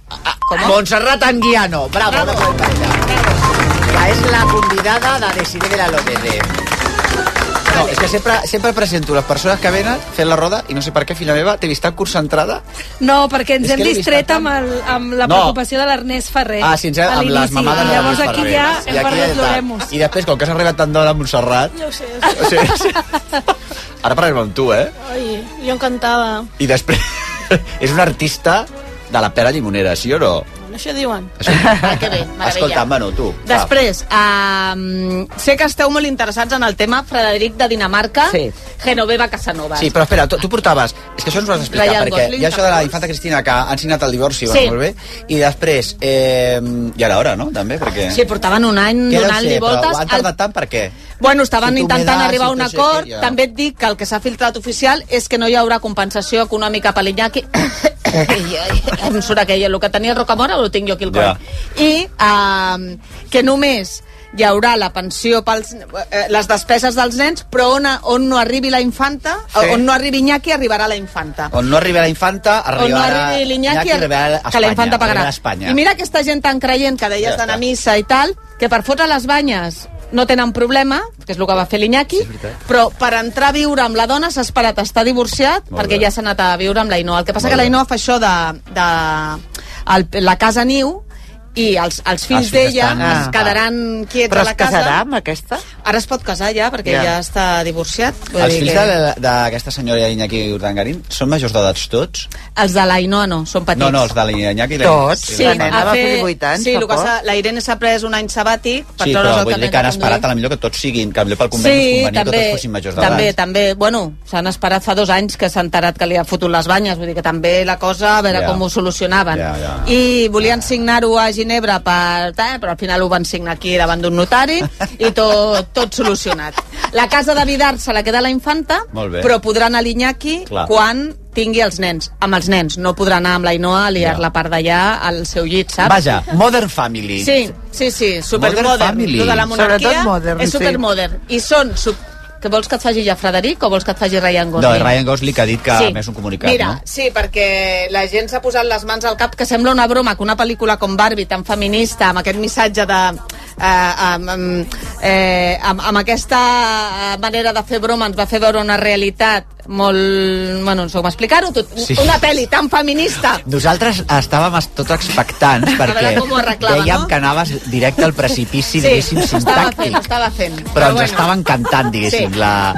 Speaker 2: Montserrat Anguiano. Bravo, bravo. bravo. Que és la convidada de Desiree de la López. No, és que sempre, sempre presento les persones que venen fent la roda i no sé per què, filla meva, t'he vist tan concentrada.
Speaker 12: No, perquè ens
Speaker 2: És
Speaker 12: hem
Speaker 2: que l'he
Speaker 12: distret
Speaker 2: vist
Speaker 12: amb, el, amb la
Speaker 2: No.
Speaker 12: preocupació de l'Ernest
Speaker 5: Eh,
Speaker 12: Ferrer.
Speaker 2: Ah, sí, ens hem-
Speaker 12: a
Speaker 2: amb les
Speaker 12: l'inici.
Speaker 2: mamades
Speaker 12: I
Speaker 2: de
Speaker 12: llavors
Speaker 2: les
Speaker 12: aquí
Speaker 2: Ferrer.
Speaker 12: ja
Speaker 2: I
Speaker 12: hem
Speaker 2: aquí ja
Speaker 12: perdut
Speaker 2: està.
Speaker 12: l'Oremus.
Speaker 2: I després, com que has arribat tan d'hora a Montserrat...
Speaker 12: Ja ho sé.
Speaker 2: O sigui, sí. Ara parlarem amb tu, eh?
Speaker 12: Ai, jo encantada.
Speaker 2: I després... és un artista de la pera llimonera, sí o no?
Speaker 12: Això diuen.
Speaker 5: Ah, que bé, meravella.
Speaker 2: Escolta, Manu, tu. va.
Speaker 5: Després, um, sé que esteu molt interessats en el tema Frederic de Dinamarca,
Speaker 2: Sí.
Speaker 5: Genoveva Casanova.
Speaker 2: Sí, però espera, tu, tu portaves... És que això ens ho has d'explicar,
Speaker 5: Ryan
Speaker 2: perquè
Speaker 5: Gosling,
Speaker 2: hi ha això de la
Speaker 5: Carlos.
Speaker 2: infanta Cristina que han signat el divorci,
Speaker 5: Sí.
Speaker 2: sí. molt bé, i després... Eh, I ara hora, no?, també, perquè...
Speaker 5: Sí, portaven un any
Speaker 2: Què deu
Speaker 5: donant-li
Speaker 2: ser?
Speaker 5: voltes.
Speaker 2: Però han
Speaker 5: al-
Speaker 2: tardat tant per què?
Speaker 5: Bueno, estaven
Speaker 2: Si tu me
Speaker 5: intentant
Speaker 2: das,
Speaker 5: arribar a
Speaker 2: si
Speaker 5: un
Speaker 2: tu sé què,
Speaker 5: acord.
Speaker 2: ja.
Speaker 5: També et dic que el que s'ha filtrat oficial és que no hi haurà compensació econòmica per l'Iñaki. Ai, ai, em surt aquell, el que tenia el Rocamora ho tinc jo aquí al
Speaker 2: Ja.
Speaker 5: coll. I ehm, que només hi haurà la pensió pels, eh, les despeses dels nens, però on, on no arribi la infanta,
Speaker 2: Sí.
Speaker 5: on no arribi Iñaki, arribarà la infanta.
Speaker 2: On no arriba la infanta,
Speaker 5: On no
Speaker 2: arribarà...
Speaker 5: arribi l'Iñaki,
Speaker 2: Iñaki, arribarà a Espanya,
Speaker 5: que la infanta pagarà.
Speaker 2: arribarà a Espanya.
Speaker 5: I mira aquesta gent tan creient que deies
Speaker 2: Ja
Speaker 5: d'anar a
Speaker 2: està.
Speaker 5: missa i tal, que per fotre les banyes no tenen problema, que és el que va fer l'Iñaki, però per entrar a viure amb la dona s'ha esperat a estar divorciat
Speaker 2: Molt
Speaker 5: perquè
Speaker 2: bé.
Speaker 5: ja s'ha anat a viure amb la Ainhoa. El que passa
Speaker 2: Molt
Speaker 5: que la
Speaker 2: bé.
Speaker 5: Ainhoa fa això de, de el, la casa niu i els, els
Speaker 2: Els fills
Speaker 5: fills d'ella
Speaker 2: estan- Ah.
Speaker 5: es quedaran quiets
Speaker 6: Però
Speaker 5: a
Speaker 6: es
Speaker 5: la casa.
Speaker 6: casarà amb aquesta?
Speaker 5: Ara es pot casar ja, perquè
Speaker 6: Ja.
Speaker 5: ja, està divorciat. Vull
Speaker 2: Els
Speaker 5: dir
Speaker 2: fills
Speaker 5: que-
Speaker 2: de- d'aquesta senyora Iñaki Urdangarín són majors d'edats tots?
Speaker 5: Els de la Ainhoa no, són petits.
Speaker 2: No, no, els de l'Iñaki... i la-
Speaker 6: Tots,
Speaker 2: i
Speaker 5: Sí,
Speaker 6: La nena
Speaker 5: ha
Speaker 6: va fer
Speaker 5: fet-
Speaker 6: 18 anys
Speaker 5: Sí,
Speaker 6: fa
Speaker 5: el que
Speaker 6: poc.
Speaker 5: s'ha- la Irene s'ha pres un any sabàtic per
Speaker 2: Sí,
Speaker 5: treure's
Speaker 2: però vull
Speaker 5: el
Speaker 2: dir
Speaker 5: carnet
Speaker 2: que han
Speaker 5: de conduir.
Speaker 2: esperat a la millor que tots siguin, que potser pel conveni sí,
Speaker 5: Sí,
Speaker 2: conveni també,
Speaker 5: també,
Speaker 2: tots fossin majors d'edat.
Speaker 5: també, també, bueno, s'han esperat fa dos anys que s'han enterat que li ha fotut les banyes, vull dir que també la cosa, a veure
Speaker 2: Ja.
Speaker 5: com ho solucionaven.
Speaker 2: Ja, ja.
Speaker 5: I volien signar-ho a Ginebra, per tal, però al final ho van signar aquí davant d'un notari i tot, tot solucionat. La casa de Vidar se la queda la infanta,
Speaker 2: Molt bé.
Speaker 5: però podrà anar a l'Iñaki
Speaker 2: Clar.
Speaker 5: quan tingui els nens, amb els nens. No podrà anar amb la Inoa a liar
Speaker 2: Ja.
Speaker 5: la part d'allà al seu llit, saps?
Speaker 2: Vaja, Modern Family.
Speaker 5: Sí, sí, sí, supermodern.
Speaker 2: Modern Family.
Speaker 5: Lo de la monarquia
Speaker 6: Sobretot modern,
Speaker 5: és
Speaker 6: sí.
Speaker 5: supermodern. I són... Sub... Que vols que et faci ja Frederic o vols que et faci Ryan
Speaker 2: No,
Speaker 5: Gosling?
Speaker 2: és Ryan Gosling que ha dit que sí. més un comunicat,
Speaker 5: Mira,
Speaker 2: no?
Speaker 5: sí, perquè la gent s'ha posat les mans al cap que sembla una broma que una pel·lícula com Barbie, tan feminista, amb aquest missatge de... Eh, amb, amb, eh, amb, amb aquesta manera de fer broma ens va fer veure una realitat molt... Bueno, no sé com explicar-ho. tot-
Speaker 2: Sí.
Speaker 5: Una pel·li tan feminista
Speaker 2: Nosaltres estàvem es- tots expectants perquè
Speaker 5: veure com ho arreglava,
Speaker 2: dèiem
Speaker 5: no?
Speaker 2: que anaves directe al precipici, sí, diguéssim,
Speaker 5: estava fent,
Speaker 2: sintàctic.
Speaker 5: estava fent.
Speaker 2: Però ens estaven cantant, diguéssim,
Speaker 5: Sí.
Speaker 2: la...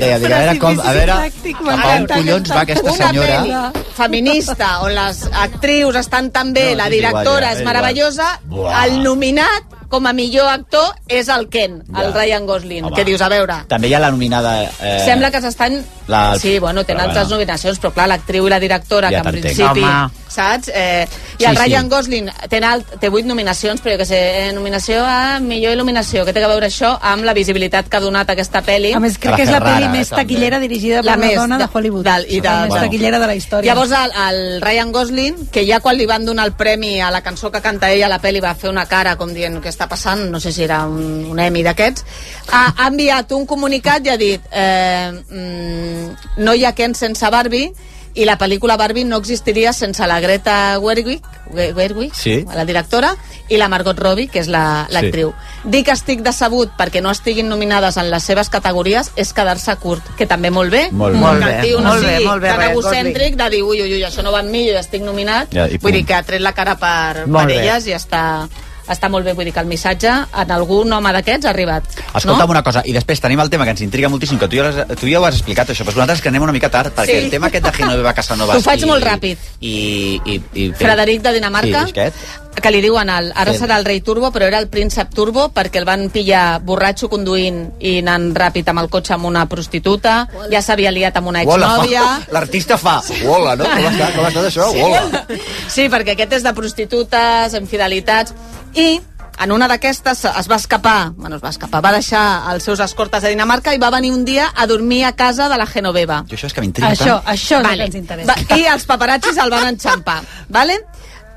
Speaker 2: Deia, dic, a veure com, a veure, cap a on collons va aquesta
Speaker 5: Una
Speaker 2: senyora...
Speaker 5: pel·li feminista on les actrius estan tan bé,
Speaker 2: No,
Speaker 5: la
Speaker 2: és igual, ja,
Speaker 5: directora
Speaker 2: és
Speaker 5: és meravellosa,
Speaker 2: igual.
Speaker 5: el nominat com a millor actor és el Ken, el
Speaker 2: Ja.
Speaker 5: Ryan Gosling,
Speaker 2: Home.
Speaker 5: que dius, a veure...
Speaker 2: També hi ha la nominada... Eh,
Speaker 5: Sembla que s'estan...
Speaker 2: la-
Speaker 5: Sí, bueno, tenen
Speaker 2: però
Speaker 5: altres
Speaker 2: bueno.
Speaker 5: nominacions, però clar, l'actriu i la directora,
Speaker 2: Ja
Speaker 5: que en
Speaker 2: t'entenc.
Speaker 5: principi...
Speaker 6: Home.
Speaker 5: Saps? Eh, I
Speaker 2: Sí,
Speaker 5: el
Speaker 2: sí.
Speaker 5: Ryan Gosling té, alt, té 8 nominacions, però jo què sé, eh, nominació a millor il·luminació, que té a veure això amb la visibilitat que ha donat aquesta pel·li.
Speaker 12: A més, crec
Speaker 2: Que
Speaker 12: que és la
Speaker 2: la
Speaker 12: pel·li
Speaker 2: Ferrara,
Speaker 12: més
Speaker 2: també.
Speaker 12: taquillera dirigida per
Speaker 5: La
Speaker 12: una
Speaker 5: més
Speaker 12: dona de
Speaker 5: de-
Speaker 12: Hollywood.
Speaker 5: del- i de-
Speaker 12: la més
Speaker 5: bueno.
Speaker 12: taquillera de la història.
Speaker 5: Llavors el, el Ryan Gosling, que ja quan li van donar el premi a la cançó que canta ella a la pel·li va fer una cara com dient què està passant, no sé si era un, un Emmy d'aquests, ha, ha enviat un comunicat i ha dit eh, mm, no hi ha Ken sense Barbie i la pel·lícula Barbie no existiria sense la Greta Gerwig, Ge- Gerwig
Speaker 2: Sí.
Speaker 5: la directora, i la Margot Robbie, que és la- l'actriu. La, sí. Dir que estic decebut perquè no estiguin nominades en les seves categories és quedar-se curt, que també molt bé,
Speaker 2: Molt bé.
Speaker 6: Molt
Speaker 5: que
Speaker 6: bé,
Speaker 5: el tio no
Speaker 6: molt bé,
Speaker 5: sigui
Speaker 6: molt bé,
Speaker 5: tan
Speaker 6: Ryan
Speaker 5: egocèntric de dir, ui, ui, ui, això no va amb mi, jo ja estic nominat.
Speaker 2: Ja, i punt.
Speaker 5: vull dir que ha tret la cara per,
Speaker 6: Molt
Speaker 5: per
Speaker 6: bé.
Speaker 5: elles i està, està molt bé. Vull dir que el missatge en algun home d'aquests ha arribat.
Speaker 2: Escolta'm
Speaker 5: no?
Speaker 2: una cosa, i després tenim el tema que ens intriga moltíssim, que tu ja, l'has- tu ja ho has explicat, això, però nosaltres que anem una mica tard, perquè
Speaker 5: Sí.
Speaker 2: el tema aquest de Genoveva Casanova...
Speaker 5: Ho faig molt ràpid.
Speaker 2: I, i, i,
Speaker 5: Frederic de Dinamarca,
Speaker 2: Sí, és aquest.
Speaker 5: que li diuen el, ara
Speaker 2: Sí.
Speaker 5: serà el rei Turbo, però era el príncep Turbo perquè el van pillar borratxo conduint i anant ràpid amb el cotxe amb una prostituta, ja s'havia liat amb una
Speaker 2: Uola, fa-
Speaker 5: exnòvia...
Speaker 2: L'artista fa... Uola, no? Com ha estat, com ha estat això? Uola.
Speaker 5: Sí, perquè aquest és de prostitutes, infidelitats... I en una d'aquestes es va escapar, bueno, es va escapar, va deixar els seus escortes a Dinamarca i va venir un dia a dormir a casa de la Genoveva.
Speaker 2: Jo això és que m'intriga
Speaker 12: Això,
Speaker 5: eh,
Speaker 2: tant.
Speaker 12: això és el que ens interessa.
Speaker 5: Va, I els paparazzis el van enxampar, vale?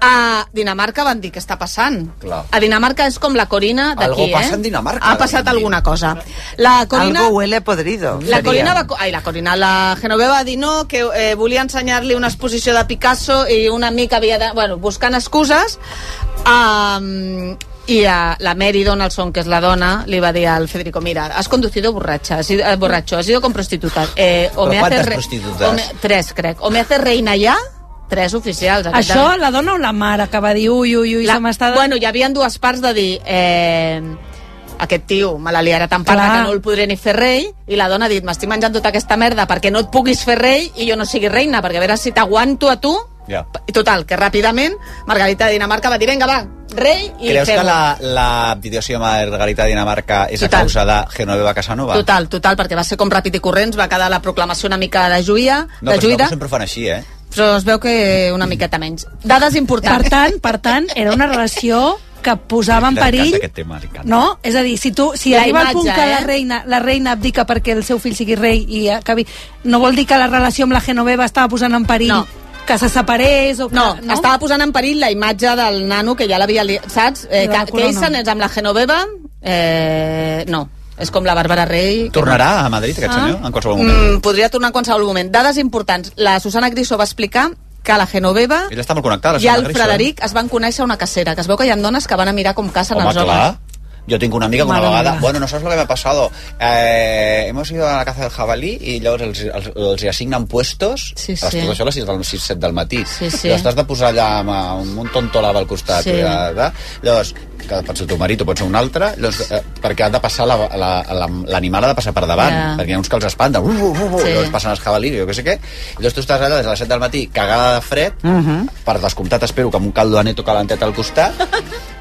Speaker 5: A Dinamarca van dir què està passant.
Speaker 2: Clar.
Speaker 5: A Dinamarca és com la Corina d'aquí,
Speaker 2: Algo
Speaker 5: eh?
Speaker 2: passa en Dinamarca,
Speaker 5: Ha passat alguna cosa. La Corina...
Speaker 6: Algo huele podrido.
Speaker 5: La
Speaker 6: seria.
Speaker 5: Corina va... Ai, la Corina, la Genoveva va dir no, que eh, volia ensenyar-li una exposició de Picasso i una mica havia de... Bueno, buscant excuses. Um, i a la Mary Donaldson, que és la dona, li va dir al Federico, mira, has conducido borracha, has ido, eh, borracho, has ido con prostitutas. Eh, o
Speaker 2: Però
Speaker 5: me
Speaker 2: quantes
Speaker 5: haces re-
Speaker 2: prostitutes?
Speaker 5: o me, tres, crec. O me haces reina ja, tres oficials. aquest
Speaker 12: Això,
Speaker 5: any.
Speaker 12: la dona o la mare, que va dir ui, ui, ui,
Speaker 5: La-
Speaker 12: se m'està...
Speaker 5: Bueno, hi havia dues parts de dir... Eh, aquest tio me la liarà tan parda
Speaker 12: Clar.
Speaker 5: que no el podré ni fer rei i la dona ha dit, m'estic menjant tota aquesta merda perquè no et puguis fer rei i jo no sigui reina perquè a veure si t'aguanto a tu
Speaker 2: Ja.
Speaker 5: i total, que ràpidament Margarita de Dinamarca va dir, vinga va, rei i
Speaker 2: Creus
Speaker 5: fem
Speaker 2: que la, la abdicació de Margarita de Dinamarca és
Speaker 5: Total.
Speaker 2: a causa de Genoveva Casanova?
Speaker 5: Total, total, perquè va ser com ràpid i corrents, va quedar la proclamació una mica de juïa,
Speaker 2: No,
Speaker 5: de
Speaker 2: però
Speaker 5: juïda,
Speaker 2: Juïda... sempre ho fan així, eh?
Speaker 5: però es veu que una miqueta menys. Dades
Speaker 12: Per
Speaker 5: importants.
Speaker 12: tant, per tant, era una relació que posava en
Speaker 2: M'encanta
Speaker 12: perill
Speaker 2: aquest tema, m'encanta.
Speaker 12: no? És a dir, si tu si
Speaker 5: La
Speaker 12: arriba al
Speaker 5: imatge,
Speaker 12: punt que la
Speaker 5: eh?
Speaker 12: reina, la reina abdica perquè el seu fill sigui rei i acabi... No vol dir que la relació amb la Genoveva estava posant en perill
Speaker 5: No.
Speaker 12: que se separés o que...
Speaker 5: No, no, estava posant en perill la imatge del nano que ja l'havia... li- Saps? Eh,
Speaker 12: La
Speaker 5: que, que
Speaker 12: corona.
Speaker 5: ells se'n és amb la Genoveva... Eh, no, és com la Bàrbara Rey... que-
Speaker 2: Tornarà a Madrid, aquest
Speaker 12: Ah.
Speaker 2: senyor, en qualsevol moment?
Speaker 5: Mm, podria tornar en qualsevol moment. Dades importants. La Susana Griso va explicar que la Genoveva
Speaker 2: Ella està molt connectada, la
Speaker 5: i el
Speaker 2: Susana Griso, eh?
Speaker 5: Frederic es van conèixer a una cacera, que es veu que hi ha dones que van a mirar com cacen
Speaker 2: Home,
Speaker 5: els homes.
Speaker 2: clar. Yo tengo una amiga que una
Speaker 12: Madre
Speaker 2: vegada...
Speaker 12: mía.
Speaker 2: Bueno, no sabes lo que me ha pasado. Eh, hemos ido a la caza del jabalí i llavors els, els, els hi assignen puestos.
Speaker 5: Sí, sí.
Speaker 2: Estic això a les 6 del, 6, 7 del matí.
Speaker 5: Sí, sí.
Speaker 2: Llavors t'has de posar allà amb eh, un muntón tolava al costat.
Speaker 5: Sí.
Speaker 2: Sí. Ja, ja. Llavors, que pot ser el teu marit o pot ser un altre, llavors, eh, perquè ha de passar l'animal la, la, l'animal ha de passar per davant,
Speaker 5: Ja.
Speaker 2: perquè hi ha uns que els espanten. Uh, uh, uh, uh,
Speaker 5: Sí.
Speaker 2: sí. Llavors passen els jabalís, jo què sé què. I llavors tu estàs allà des de les 7 del matí, cagada de fred, uh -huh. per descomptat espero que amb un caldo de neto calentet al costat,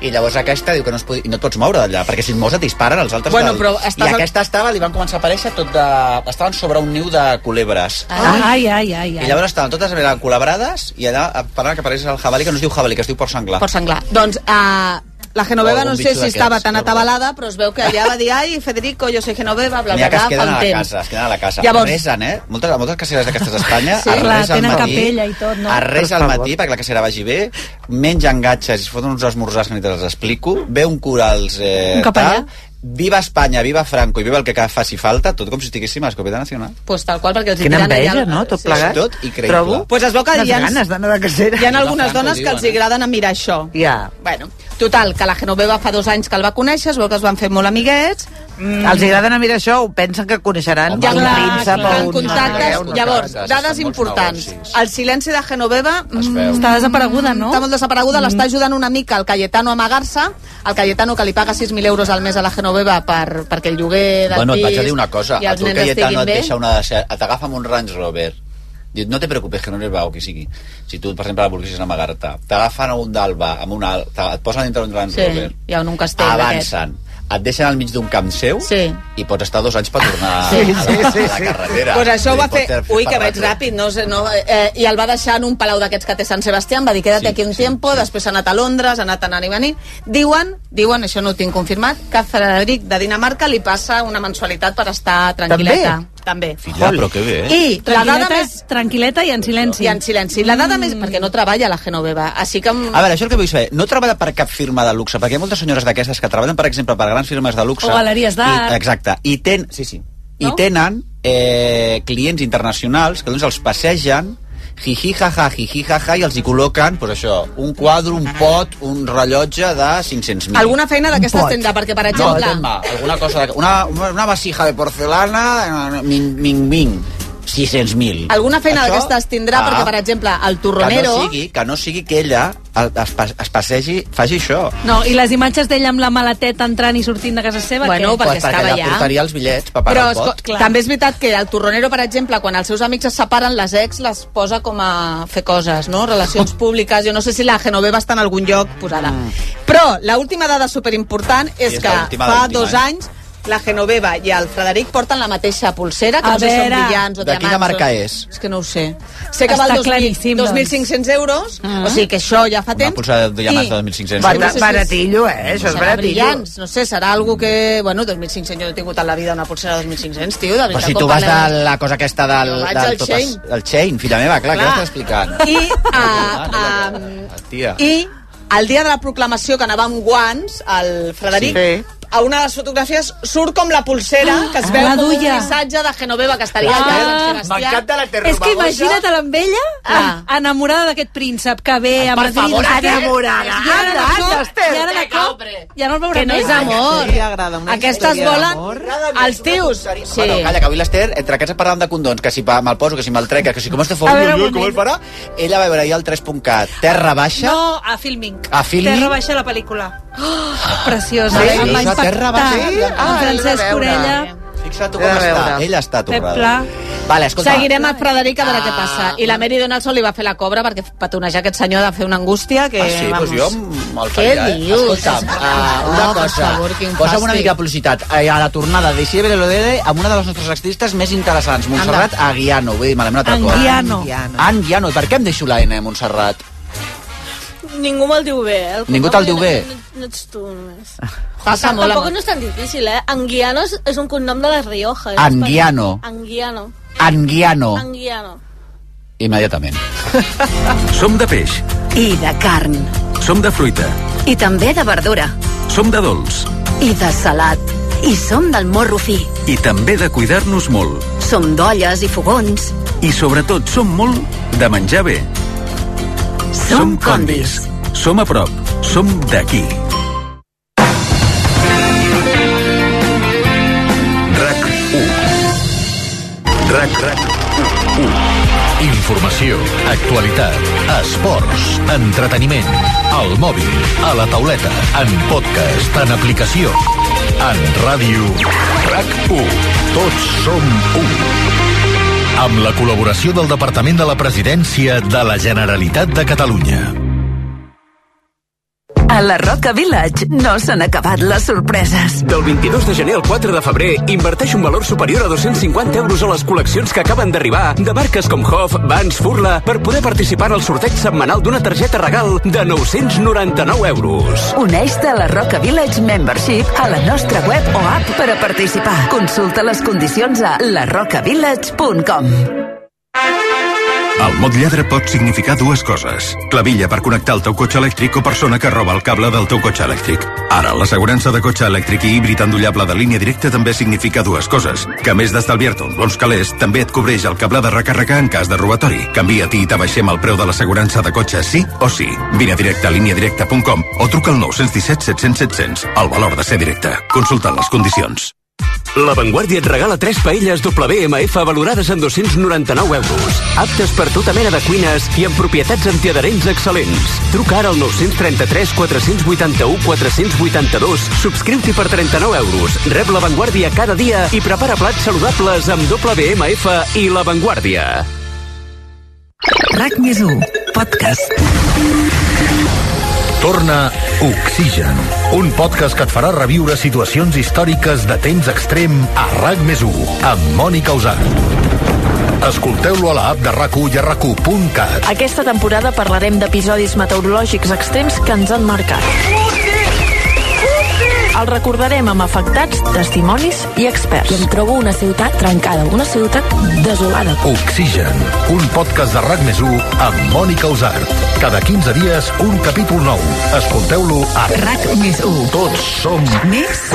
Speaker 2: i llavors aquesta diu que no, es podi... no et pots moure d'allà, perquè si et mous et disparen els altres.
Speaker 5: Bueno,
Speaker 2: del...
Speaker 5: però estàs-
Speaker 2: I aquesta estava, li van començar a aparèixer tot de... Estaven sobre un niu de culebres. Ah.
Speaker 12: Ai, ai, ai,
Speaker 2: I
Speaker 12: ai.
Speaker 2: llavors estaven totes eren colabrades i allà parlant que apareix el jabalí, que no es diu jabalí, que es diu por senglar.
Speaker 5: Por senglar. Doncs eh, la
Speaker 2: O
Speaker 5: Genoveva
Speaker 2: algun
Speaker 5: no sé
Speaker 2: bitxo
Speaker 5: si estava
Speaker 2: d'aquests,
Speaker 5: tan
Speaker 2: no?
Speaker 5: atabalada, però es veu que allà va dir ai, Federico, jo soy Genoveva, bla,
Speaker 2: N'hi
Speaker 5: bla,
Speaker 2: ha que
Speaker 5: bla,
Speaker 2: es queden
Speaker 5: amb
Speaker 2: a la
Speaker 5: temps.
Speaker 2: casa, es queden a la casa.
Speaker 5: Llavors-
Speaker 2: Llavors... Resen, eh? Moltes, moltes caceres d'aquestes d'Espanya
Speaker 5: Sí.
Speaker 2: es
Speaker 12: Clar,
Speaker 2: resen
Speaker 12: tenen
Speaker 2: al matí,
Speaker 12: capella i tot, no?
Speaker 2: es resa
Speaker 6: Per
Speaker 2: al
Speaker 6: favor.
Speaker 2: matí perquè la cacera vagi bé, mengen gatxes i es foten uns esmorzars que ni te'ls explico, ve un corals... Eh,
Speaker 12: Un capellà.
Speaker 2: tal, Viva Espanya, viva Franco i viva el que faci falta, tot com si estiguéssim a Escopeta Nacional.
Speaker 5: Pues tal qual, perquè els hi
Speaker 6: Quina
Speaker 5: tiren allà
Speaker 6: enveja,
Speaker 5: el-
Speaker 6: no? Tot
Speaker 5: sí.
Speaker 6: plegat.
Speaker 2: Tot increïble.
Speaker 6: Trobo.
Speaker 5: Pues es veu que
Speaker 6: Unes
Speaker 5: hi ha-
Speaker 6: ganes d'anar de cacera.
Speaker 5: Hi ha algunes
Speaker 2: Franco,
Speaker 5: dones que els hi
Speaker 2: diuen, eh?
Speaker 5: agraden a mirar això.
Speaker 6: Ja.
Speaker 5: Bueno, total, que la Genoveva fa dos anys que el va conèixer, es veu que es van fer molt amiguets,
Speaker 6: Mm. Els agrada anar a mirar això o pensen que coneixeran
Speaker 2: Home,
Speaker 5: ja
Speaker 6: un
Speaker 5: clar,
Speaker 6: príncep o
Speaker 5: clar, en
Speaker 6: un...
Speaker 5: contactes,
Speaker 2: no, no, no,
Speaker 5: llavors,
Speaker 2: no, no, no,
Speaker 5: dades
Speaker 2: estan molts
Speaker 5: importants.
Speaker 2: negocis.
Speaker 5: El silenci de Genoveva
Speaker 2: Es
Speaker 5: mm,
Speaker 2: veu.
Speaker 12: Està desapareguda, no?
Speaker 5: està molt desapareguda, l'està
Speaker 6: Mm.
Speaker 5: ajudant una mica el Cayetano a amagar-se, el Cayetano que li paga 6.000 euros al mes a la Genoveva per, perquè el lloguer del
Speaker 2: bueno, et
Speaker 5: pis
Speaker 2: vaig a dir una cosa.
Speaker 5: i
Speaker 2: A
Speaker 5: els
Speaker 2: tu el
Speaker 5: nens
Speaker 2: Cayetano
Speaker 5: estiguin
Speaker 2: et
Speaker 5: bé.
Speaker 2: deixa una... de- T'agafa amb un Range Rover. Diu, no te preocupes, que no n'hi va o qui sigui. Si tu, per exemple, la volguessis amagar-te, t'agafen a un d'Alba, amb un al... te- et posen dintre d'un Range
Speaker 5: Sí,
Speaker 2: Rover.
Speaker 5: hi ha un- un castell
Speaker 2: Avancen. Et deixen al mig d'un camp seu
Speaker 5: Sí.
Speaker 2: i pots estar dos anys per tornar
Speaker 5: Sí,
Speaker 2: a,
Speaker 5: sí,
Speaker 2: la,
Speaker 6: sí,
Speaker 2: a
Speaker 6: sí.
Speaker 2: la carretera.
Speaker 5: Pues això ho va
Speaker 2: Vull
Speaker 5: fer...
Speaker 2: dir, pot
Speaker 5: Ui, que
Speaker 2: per
Speaker 5: vaig
Speaker 2: retro.
Speaker 5: ràpid, no sé, no... Eh, I el va deixar en un palau d'aquests que té Sant Sebastià, em va dir, queda't
Speaker 2: Sí,
Speaker 5: aquí un
Speaker 2: sí,
Speaker 5: tiempo, després ha anat a Londres, ha anat anant i venint. Diuen, diuen, això no ho tinc confirmat, que Frederic de Dinamarca li passa una mensualitat per estar tranquil·leta. També.
Speaker 2: Filla, però que bé, eh?
Speaker 5: I la dada
Speaker 12: Tranquil·leta,
Speaker 5: més...
Speaker 12: tranquil·leta i en silenci.
Speaker 5: I en silenci. La dada més... Perquè no treballa la Genoveva, així que...
Speaker 2: A veure, això és el que vull saber. No treballa per cap firma de luxe, perquè hi ha moltes senyores d'aquestes que treballen, per exemple, per grans firmes de luxe.
Speaker 12: O galeries d'art.
Speaker 2: I- Exacte. I, ten, sí, sí.
Speaker 12: No?
Speaker 2: I tenen eh, clients internacionals que doncs els passegen jiji jaja, jiji jaja, i els hi col·loquen pues això, un quadre, un pot, un rellotge de 500.000.
Speaker 5: Alguna feina d'aquestes
Speaker 6: pot.
Speaker 5: tindrà, perquè, per
Speaker 2: No,
Speaker 5: exemple...
Speaker 2: atent-me, alguna cosa... de- Una, una vasija de porcelana, eh, min, min, min. 600.000.
Speaker 5: Alguna feina
Speaker 2: Això- Ah.
Speaker 5: d'aquestes tindrà, perquè, per exemple, el torronero...
Speaker 2: Que no sigui que, no sigui que ella el- es, pas- es passegi, faci això.
Speaker 12: No, i les imatges d'ella amb la maleteta entrant i sortint de casa seva...
Speaker 5: Bueno,
Speaker 12: què?
Speaker 5: perquè estava
Speaker 2: allà
Speaker 5: allà.
Speaker 2: portaria els bitllets per pagar
Speaker 5: Però
Speaker 2: el pot.
Speaker 5: esco- clar. també és veritat que el torronero, per exemple, quan els seus amics es separen, les ex les posa com a fer coses, no? Relacions públiques. Jo no sé si la Genoveva està en algun lloc posada. Però l'última dada superimportant
Speaker 2: Mm.
Speaker 5: és,
Speaker 2: Sí, és
Speaker 5: que
Speaker 2: l'última,
Speaker 5: fa
Speaker 2: l'última,
Speaker 5: dos
Speaker 2: eh?
Speaker 5: anys la Genoveva i el Frederic porten la mateixa pulsera, que
Speaker 12: A
Speaker 5: no sé si són
Speaker 12: veure.
Speaker 5: brillants o
Speaker 2: De quina
Speaker 5: diamants.
Speaker 2: marca
Speaker 5: o-
Speaker 2: és?
Speaker 5: És que no ho sé. Sé que
Speaker 12: Està
Speaker 5: val 2.000
Speaker 12: claríssim, doncs. Mm.
Speaker 5: 2.500 euros, o sigui que això ja fa temps.
Speaker 2: pulsera de diamants
Speaker 5: I-
Speaker 2: de 2.500
Speaker 5: Bueno,
Speaker 6: euros.
Speaker 5: no sé si és-
Speaker 6: Baratillo, eh? Això és
Speaker 5: Serà
Speaker 6: baratillo.
Speaker 5: brillants, no sé, serà algo que... Bueno, 2.500, jo no he tingut a la vida una pulsera de 2.500, tio, de veritat.
Speaker 2: Però si
Speaker 5: com
Speaker 2: tu vas
Speaker 5: parlem-
Speaker 2: de la cosa aquesta del...
Speaker 5: Jo vaig
Speaker 2: del
Speaker 5: al
Speaker 2: tot
Speaker 5: Shein.
Speaker 2: es- El Chain, filla meva, clar, clar. què
Speaker 5: Clar.
Speaker 2: m'estàs explicant?
Speaker 5: I,
Speaker 2: Ah,
Speaker 5: a, a,
Speaker 2: Tia.
Speaker 5: I el dia de la proclamació que anava amb guants, el Frederic,
Speaker 6: Sí.
Speaker 5: a una de les fotografies surt com la pulsera que es veu
Speaker 12: Ah, la
Speaker 5: com un
Speaker 12: duia.
Speaker 5: missatge de Genoveva que estaria
Speaker 12: Ah,
Speaker 5: allà a Sant Sebastià.
Speaker 2: la
Speaker 12: És que imagina't a l'envella
Speaker 5: Ah.
Speaker 12: enamorada d'aquest príncep que ve a Madrid.
Speaker 6: favor,
Speaker 12: no sé què.
Speaker 6: enamorada.
Speaker 12: I ara de
Speaker 6: Anda,
Speaker 12: cop-
Speaker 6: anda, Esther.
Speaker 12: I ara de cop, ja no el veurà
Speaker 5: Que no
Speaker 12: més.
Speaker 5: és amor.
Speaker 8: Li agrada una
Speaker 5: Aquestes
Speaker 8: història d'amor.
Speaker 5: volen... Els tios...
Speaker 2: Sí. Bueno, calla, que avui l'Ester, entre aquests parlant de condons, que si pa- me'l poso, que si me'l trec, que si com es fa,
Speaker 12: A veure, un
Speaker 2: com el farà, ella va veure ahir el 3.cat, terra baixa, no.
Speaker 12: No, a Filming.
Speaker 2: A Filming?
Speaker 12: Terra baixa la pel·lícula. Oh, preciosa.
Speaker 2: Sí?
Speaker 12: Em va
Speaker 2: Preciosa, Terra
Speaker 12: impactar.
Speaker 2: Baixa. Sí?
Speaker 12: En
Speaker 6: Ah, l'he de
Speaker 12: Francesc
Speaker 6: veure.
Speaker 12: Orella.
Speaker 2: fixa't tu com
Speaker 6: A veure.
Speaker 2: està, ella està torrada.
Speaker 12: Pla.
Speaker 2: Vale, escolta,
Speaker 5: Seguirem el Frederic a veure què passa. I la Mary Donaldson li va fer la cobra perquè patonejar aquest senyor de fer una angústia que...
Speaker 2: Ah, sí, doncs
Speaker 5: vamos.
Speaker 2: jo me'l faria, eh?
Speaker 5: dius?
Speaker 2: Escolta'm, uh, una
Speaker 5: Oh, per
Speaker 2: cosa,
Speaker 5: favor, quin
Speaker 2: posa'm una
Speaker 5: fàstic.
Speaker 2: mica de publicitat. Eh, A la tornada de Isier Belodede amb una de les nostres artistes més interessants, Montserrat Aguiano. Vull dir, me l'hem anat a cor.
Speaker 12: Anguiano.
Speaker 2: Anguiano. I per què em deixo la N, Montserrat?
Speaker 13: Ningú me'l diu bé. eh, El
Speaker 2: Ningú te'l diu bé? Ah.
Speaker 13: No, no ets tu, només.
Speaker 5: Passa molt,
Speaker 13: Tampoc
Speaker 5: amor.
Speaker 13: no és tan difícil, eh? Anguiano és, és un cognom de la Rioja. és
Speaker 2: Anguiano.
Speaker 13: espanol. Anguiano.
Speaker 2: Anguiano.
Speaker 13: Anguiano.
Speaker 2: Immediatament.
Speaker 11: Som de peix,
Speaker 10: I de carn.
Speaker 11: som de fruita,
Speaker 10: I també de verdura.
Speaker 11: som de dolç
Speaker 10: I de salat. I som del morro fi.
Speaker 11: i també de cuidar-nos molt.
Speaker 10: Som d'olles i fogons.
Speaker 11: I sobretot som molt de menjar bé.
Speaker 10: Som condis.
Speaker 11: Som a prop, som d'aquí. RAC 1 RAC RAC 1 Informació, actualitat, esports, entreteniment, al mòbil, a la tauleta, en podcast, en aplicació, en ràdio. RAC 1. Tots som un. Amb la col·laboració del Departament de la Presidència de la Generalitat de Catalunya.
Speaker 10: A la Roca Village no s'han acabat les sorpreses.
Speaker 7: Del 22 de gener al 4 de febrer, inverteix un valor superior a 250 euros a les col·leccions que acaben d'arribar de marques com Hof, Vans, Furla, per poder participar en el sorteig setmanal d'una targeta regal de 999 euros.
Speaker 10: Uneix-te a la Roca Village Membership a la nostra web o app per a participar. Consulta les condicions a larrocavillage.com
Speaker 11: El mot lladre pot significar dues coses. Clavilla per connectar el teu cotxe elèctric o persona que roba el cable del teu cotxe elèctric. Ara, l'assegurança de cotxe elèctric i híbrid endollable de línia directa també significa dues coses. Que a més d'estalviar-te uns bons calés, també et cobreix el cable de recàrrega en cas de robatori. Canvia-t'hi i t'abaixem el preu de l'assegurança de cotxe sí o sí. Vine a directe a líniadirecta.com o truca al 917 700 700. El valor de ser directe. Consulta les condicions.
Speaker 7: La Vanguardia et regala 3 paelles WMF valorades en 299 euros. Aptes per tota mena de cuines i amb propietats antiadherents excel·lents. Truca ara al 933 481 482, subscriu-t'hi per 39 euros, rep La Vanguardia cada dia i prepara plats saludables amb WMF i La Vanguardia.
Speaker 10: RAC més 1, podcast.
Speaker 11: Torna Oxigen, un podcast que et farà reviure situacions històriques de temps extrem a RAC més 1, amb Mònica Usant. Escolteu-lo a l'app de rac i a rac
Speaker 15: Aquesta temporada parlarem d'episodis meteorològics extrems que ens han marcat. El recordarem amb afectats, testimonis i experts. I em trobo una ciutat trencada, una ciutat desolada.
Speaker 11: Oxigen, un podcast de RAC més 1 amb Mònica Usart. Cada 15 dies, un capítol nou. Escolteu-lo a
Speaker 10: RAC més 1.
Speaker 11: Tots som...
Speaker 10: Més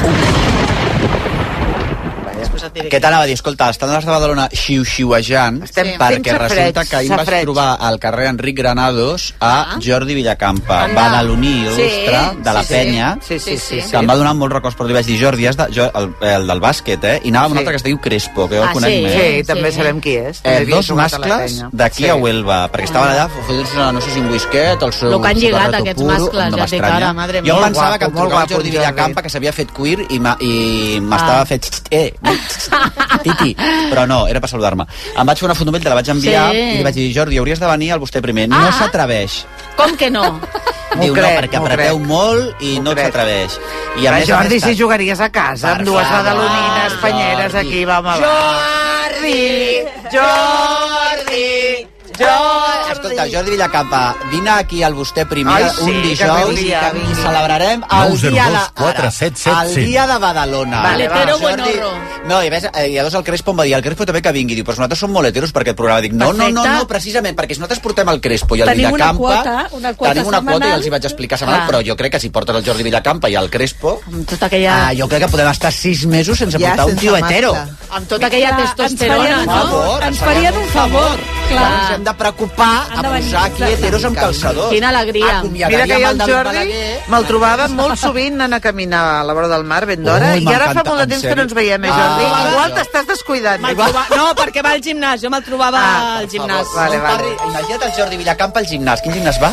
Speaker 2: Què t'anava a dir? Escolta, estan a les de Badalona xiu-xiuejant
Speaker 6: Estem fent
Speaker 2: perquè
Speaker 6: safareig,
Speaker 2: resulta que ahir em vaig
Speaker 6: safareig. Ah.
Speaker 2: trobar al carrer Enric Granados a Jordi Villacampa,
Speaker 5: Anda.
Speaker 2: badaloní
Speaker 5: Sí,
Speaker 2: il·lustre de la
Speaker 5: sí, sí.
Speaker 2: penya,
Speaker 6: Sí, sí, sí.
Speaker 2: que em va donar molts records per dir, vaig dir, Jordi, has de, jo, el, el del bàsquet, eh? I anava amb un
Speaker 6: Sí.
Speaker 2: altre que es diu Crespo, que jo el
Speaker 5: Ah,
Speaker 2: conec
Speaker 5: sí?
Speaker 2: més.
Speaker 6: Sí, també
Speaker 5: Sí.
Speaker 6: sabem qui és.
Speaker 2: Eh,
Speaker 6: També havia
Speaker 2: dos
Speaker 6: jugat a la
Speaker 2: mascles
Speaker 6: penya.
Speaker 2: d'aquí sí. a Huelva, perquè estaven allà fotent no sé si un whisket, el seu...
Speaker 5: Lo que han
Speaker 2: el seu
Speaker 5: lligat,
Speaker 2: barreto
Speaker 5: aquests
Speaker 2: puro,
Speaker 5: mascles, ja et dic
Speaker 2: m'estranya.
Speaker 5: ara, madre mia.
Speaker 2: Jo
Speaker 5: Molt
Speaker 2: pensava
Speaker 6: guapo,
Speaker 2: que em
Speaker 6: molt
Speaker 2: trucava
Speaker 6: guapo,
Speaker 2: Jordi
Speaker 6: Jordi.
Speaker 2: Villacampa, que s'havia fet queer i m'ha- i m'estava
Speaker 5: Ah.
Speaker 2: fet... "Xt, Eh, no, titi. Però no, era per saludar-me. Em vaig fer una fotomell, te la vaig enviar
Speaker 5: Sí. Ah.
Speaker 2: i li vaig dir, Jordi, hauries de venir al vostè primer. No s'atreveix.
Speaker 5: Com que no?
Speaker 2: Diu, no,
Speaker 6: crec,
Speaker 2: perquè
Speaker 6: m'ho
Speaker 2: apreteu
Speaker 6: crec.
Speaker 2: molt i no s'atreveix. I
Speaker 6: Va,
Speaker 2: a més, a
Speaker 6: Jordi,
Speaker 2: més,
Speaker 6: si jugaries a casa amb dues badalonines, panyeres, aquí, va, home, va.
Speaker 2: Jordi!
Speaker 6: Jordi! Jordi!
Speaker 2: Escolta, Jordi Villacampa, vine aquí al vostè primer
Speaker 6: Ai, sí,
Speaker 2: un
Speaker 6: que
Speaker 2: dijous
Speaker 6: vingui, que vingui.
Speaker 2: i celebrarem el dia de...
Speaker 16: 902-477-100.
Speaker 2: El dia de Badalona.
Speaker 6: Vale, va,
Speaker 2: Jordi-
Speaker 6: buenorro.
Speaker 2: No, i a més, eh, llavors el Crespo em va dir, el Crespo també que vingui. Diu, però nosaltres som molt heteros per aquest programa. Dic, no, no, no,
Speaker 6: Perfecte.
Speaker 2: no, precisament, perquè si nosaltres portem el Crespo i el
Speaker 6: Tenim una
Speaker 2: Villacampa...
Speaker 6: quota, una quota
Speaker 2: tenim una quota,
Speaker 6: setmanal. Ah.
Speaker 2: ja els hi vaig explicar setmanal,
Speaker 6: Clar.
Speaker 2: però jo crec que si portes el Jordi Villacampa i el Crespo...
Speaker 5: Amb tota aquella...
Speaker 2: Ah, jo crec que podem estar sis mesos sense
Speaker 5: Ja,
Speaker 2: portar un
Speaker 5: sense
Speaker 2: tio
Speaker 5: mascle.
Speaker 2: hetero.
Speaker 5: Amb tota aquella
Speaker 12: Clar,
Speaker 5: testosterona,
Speaker 12: ens farien un
Speaker 5: no?
Speaker 12: favor, ens farien un favor. Clar.
Speaker 2: Ens hem de preocupar a posar aquí heteros amb calçadors.
Speaker 5: Quina alegria.
Speaker 6: Mira que jo el Jordi me'l trobava
Speaker 5: Sí.
Speaker 6: molt sovint anant a caminar a la vora del mar ben d'hora
Speaker 2: Ui,
Speaker 6: i ara fa
Speaker 2: m'encanta,
Speaker 6: molt de
Speaker 2: en
Speaker 6: temps que
Speaker 2: sèrio.
Speaker 6: no ens veiem, eh,
Speaker 2: Ah,
Speaker 6: Jordi?
Speaker 2: vale.
Speaker 6: Igual t'estàs descuidant.
Speaker 5: Me'l
Speaker 6: Igual...
Speaker 5: troba- No, perquè va al gimnàs, jo me'l trobava
Speaker 6: Ah,
Speaker 5: al gimnàs.
Speaker 2: Vale, vale. Imagina't el Jordi Villacampa al gimnàs. Quin gimnàs va?